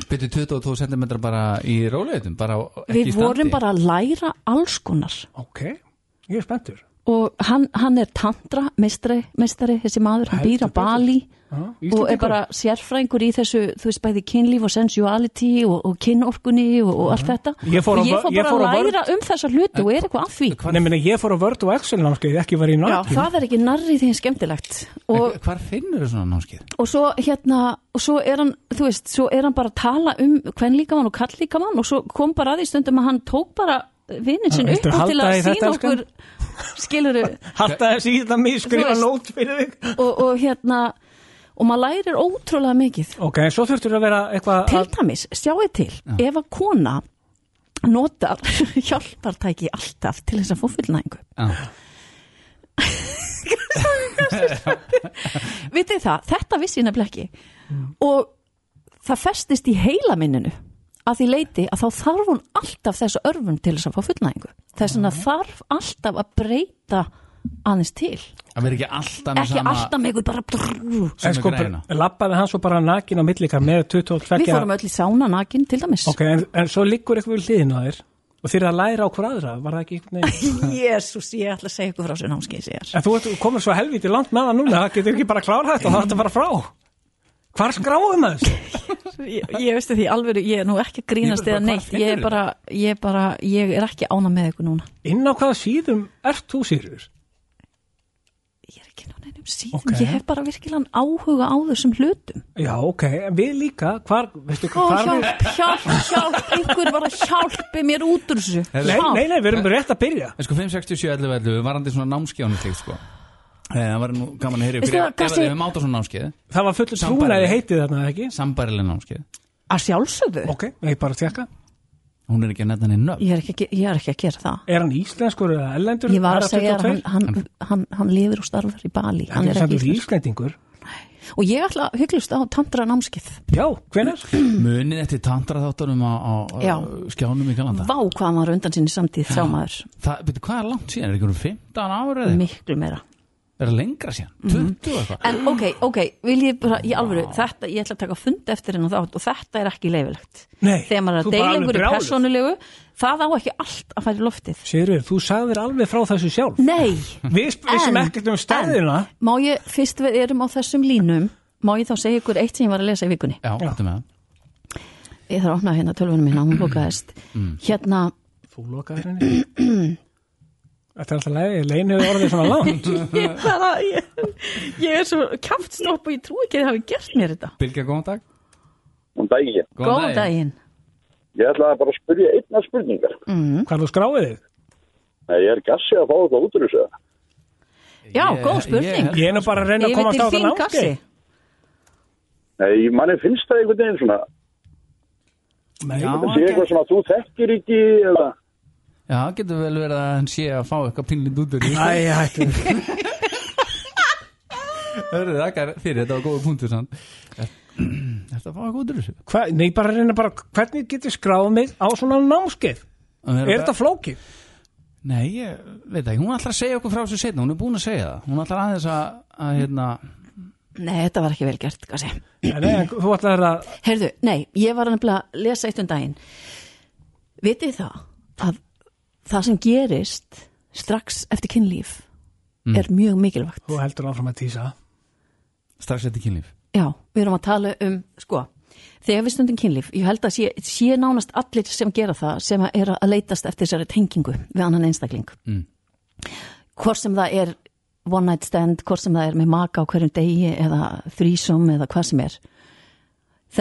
Byrju 22 cm bara í róleitum bara á- ekki
Við
í
vorum
standi
bara að læra alls konar
Ok, ég er spenntur
Og hann, hann er tantra, mistari, mistari, þessi maður, hann býr á Bali og er bara sérfræðingur í þessu, þú veist, bæði kynlíf og sensuality og, og kynorkunni og, og allt þetta.
Ég fór á
og ég
vör-
fór
ég
bara
fór á
að
vörn-
læra um þessa hluti og er eitthvað að því.
Nei, meni, ég fór á Word og Excel námskeið, ekki var í
Já,
náttúr
það er ekki nærri því skemmtilegt. Og,
Hvar finnur þú svona námskið?
og svo hérna, og svo er hann, þú veist, svo er hann bara að tala um hvern líkamann og kall líkamann og svo kom bara að því stundum að hann tók bara vinnin sinn
Viltu
upp á til
halda
að
í þetta,
sína
elskan?
okkur, skiluru,
Halda þessi í það mig,
Þú
skrifa
veist.
nót fyrir þig
og, og hérna, og maður lærir ótrúlega mikið.
Ok, en svo þurftur að vera eitthvað
Til dæmis, sjáu til, ef að kona notar hjálpartæki alltaf til þess að fá fullnæðingu Vitið það, þetta vissi ég nefnilega ekki og það festist í heila minninu að því leiti að þá þarf hún alltaf þessu örfum til þess að fá fullnæðingu þess vegna þarf alltaf að breyta aðeins til
Það verður ekki alltaf með
ekki
sama
alltaf með ykkur bara brrrr.
En sko, lappaði hann svo bara nakin á millikar með 22
við fórum öll í sána nakin til dæmis
Ok, en, en svo liggur eitthvað við hliðin á þér og þeir eru að læra á hver aðra, var það ekki einhvern veginn?
Jésús, ég ætla að segja ykkur frá þessu námskeið síðar
En þú ert- komur svo helvítið langt með það núna, það getur ekki bara að klára þetta og það er þetta bara frá Hvar skráðum það?
ég, ég veistu því alveg, ég er nú ekki að grínast
Ég
eða
er bara,
neitt,
hvar
ég er
finnurðu
bara ég er bara, ég er ekki ána með ykkur núna
Inn á hvaða síðum ert þú sýrur?
Neinum síðum, ég hef bara virkilega áhuga á þessum hlutum
Já, ok, en við líka, hvar, veistu
Ó,
hvað
hjálp,
við...
hjálp, hjálp, ykkur var að hjálpi mér út úr þessu
Nei, nei, nei, við erum rétt að byrja
En sko 567 varandi svona námskið ánum slíkt sko Eh, Það var nú gaman að heyra
Veistu
ykkur
það,
ef- ef
Kassi-
við máta svona námskið
Það var fullur trúnaði heitið þarna, ekki?
Sambærileg námskið
Að sjálfsögðu?
Ok, ég bara tjekka
Hún er ekki að nefna henni nöfn
ég er, ekki, ég er ekki að gera það
Er hann íslenskur eða ellendur?
ég var að segja að hann, hann, hann, hann lifir og starfar í Bali
Hann er
ekki
sendur
íslensk.
íslendingur
og ég ætla að hygglust á tantra námskið
Já, hvenar?
Munið eftir tantraþáttunum á, á
Já.
skjánum í Galanda
vá hvað hann var undan sinni samtíð sá maður
Það, veitu, hvað er langt síðan? Er ekki um 15 ára eða?
Miklu meira Mhm.
Er það lengra síðan? 20 eitthvað?
En ok, ok, vil ég bara, í alvöru, þetta, ég ætla að taka fund eftir henn og þátt og þetta er ekki leifilegt.
Nei,
Þegar maður er
þú
að
bara
deila
alveg
einhverju
brjáluð.
persónulegu, það á ekki allt að fara í loftið.
Sýrur, þú sagðir alveg frá þessu sjálf
Nei,
Við sp-
En-
vissum ekkert um stærðina
má ég, fyrst við erum á þessum línum, má ég þá segja ykkur eitt sem ég var að lesa í vikunni.
Já, þetta með það
Ég þarf að opna hérna tölvunum mína, hún lokaðist.
Mm.
Hérna,
Þú lokaðir henni Þetta er alltaf leið, leiðin hefur orðið svona langt
ég, bara, ég, ég er svo kjáftstopp og ég trú ekki að þið hafi gert mér þetta.
Bilgja, góðan dag
Góðan daginn.
Góðan daginn.
Ég ætlaði bara að spyrja einna spurningar.
Mm.
Hvað er þú skráið þig?
Nei, ég er gassið að fá eitthvað út úr þessu.
Já, góð spurning.
Ég er nú bara að reyna að
Yfir
komast
til
á það
þín,
langi
Gassi.
Nei, manni finnst það einhvern veginn svona.
Nei,
það sé eitthvað sem að þú þekkir ekki eða...
Já, getur vel verið að hann sé að fá eitthvað pinlið út úr því, sko.
Æ, hættu
Hörðu, þakkar fyrir, þetta var góða punktur sann Þetta var góða út úr þessu
Hva, Nei, bara að reyna bara, hvernig getur skráð mig á svona námskeið?
Að vera
Er
bara-
þetta flókið?
Nei, ég veit ekki, hún ætlar að segja okkur frá þessu setna Hún er búin að segja það Hún ætlar aðeins að, að hérna
Nei, þetta var ekki vel gert, Gassi
Nei, þú ætlaðir að
Heyrðu, nei, ég var nefnilega að lesa eitt um daginn Vitið þið það að það sem gerist strax eftir kynlíf
Mm.
er mjög mikilvægt
Þú heldur áfram að tísa
Strax eftir kynlíf
Já, við erum að tala um, sko, þegar við stundum kynlíf, ég held að sé, sé nánast allir sem gera það sem að er að leitast eftir þessari tengingu við annan einstakling.
Mm.
Hvort sem það er one night stand, hvort sem það er með maka á hverjum degi eða þrísom eða hvað sem er.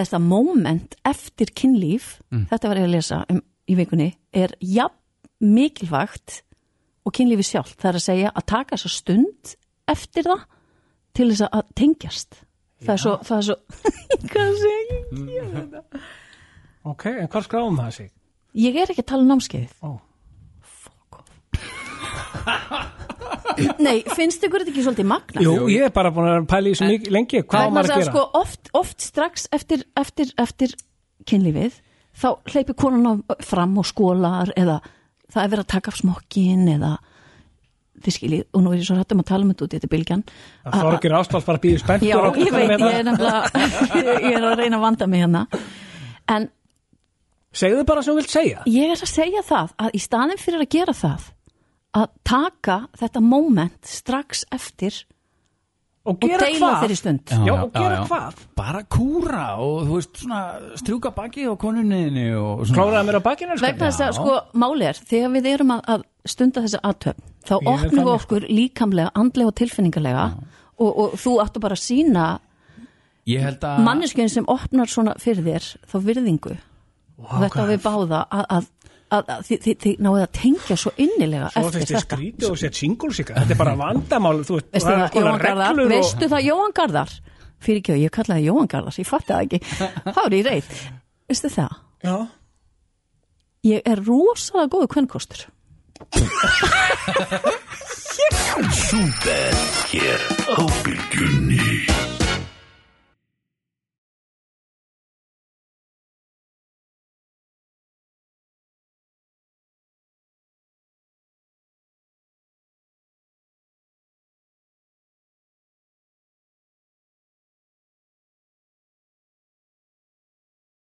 Þetta moment eftir kynlíf,
Mm.
þetta var ég að lesa um, í vikunni, er jafn mikilvægt og kynlífi sjálft. Það er að segja að taka þessa stund eftir það til þess að tengjast. Það er svo, það er svo, hvað segir
Ok, en hvað skráum það sig?
Ég er ekki að tala um námskeiðið.
Oh.
Nei, finnst ykkur þetta ekki svolítið magna?
Jú, ég er bara búin að vera að pæla í þessu mikið lengi Hvað á
Vegna
maður
þess
að
að
gera?
Sko, oft, oft strax eftir, eftir, eftir kynlífið, þá hleypir konan á- fram og skólar eða það er verið að taka af smokkin eða þið skiljið, og nú er ég svo hættum að tala um þetta út í þetta er bylgjan.
Að Þorgir Ástvalds bara býður spenntur
Já,
á
ég
klukkanum
veit,
hérna.
ég er nefnilega, ég er að reyna að vanda mig hérna. En
Segðu bara sem þú vilt segja
Ég er að segja það að í staðin fyrir að gera það að taka þetta moment strax eftir
og
gera
deila
hvað?
þeirri stund
Já, Já, já, og gera já, já. hvað?
Bara
kúra og þú veist svona strjúka baki á konunniðinu og svona
Klóraði mér á bakinu
vegna þess að sko máli er þegar við erum að, að stunda þessa aðtöfn þá
Ég er
opnum við
sko.
þannig,
okkur líkamlega, andlega og tilfinningarlega og, og þú áttu bara að sína
Ég held að
manneskjöðin sem opnar svona fyrir þér þá virðingu og þetta á við báða að, að, að, að þið, þið, þið náðu að tengja svo innilega
Svo
eftir
finnst þið
þetta
skrítið og sett singulsika Þetta er bara vandamál Þú veist,
Veistu
það er
það,
skoða
Jóhann Garðar,
reglur og
veistu það Jóhann Garðar fyrir ekki að ég kallaði það Jóhann Garðar ég fatti það ekki, þá er ég reyð veistu það,
Já.
ég er rosalega góðu kvennkostur
Súper hér á bylgjunni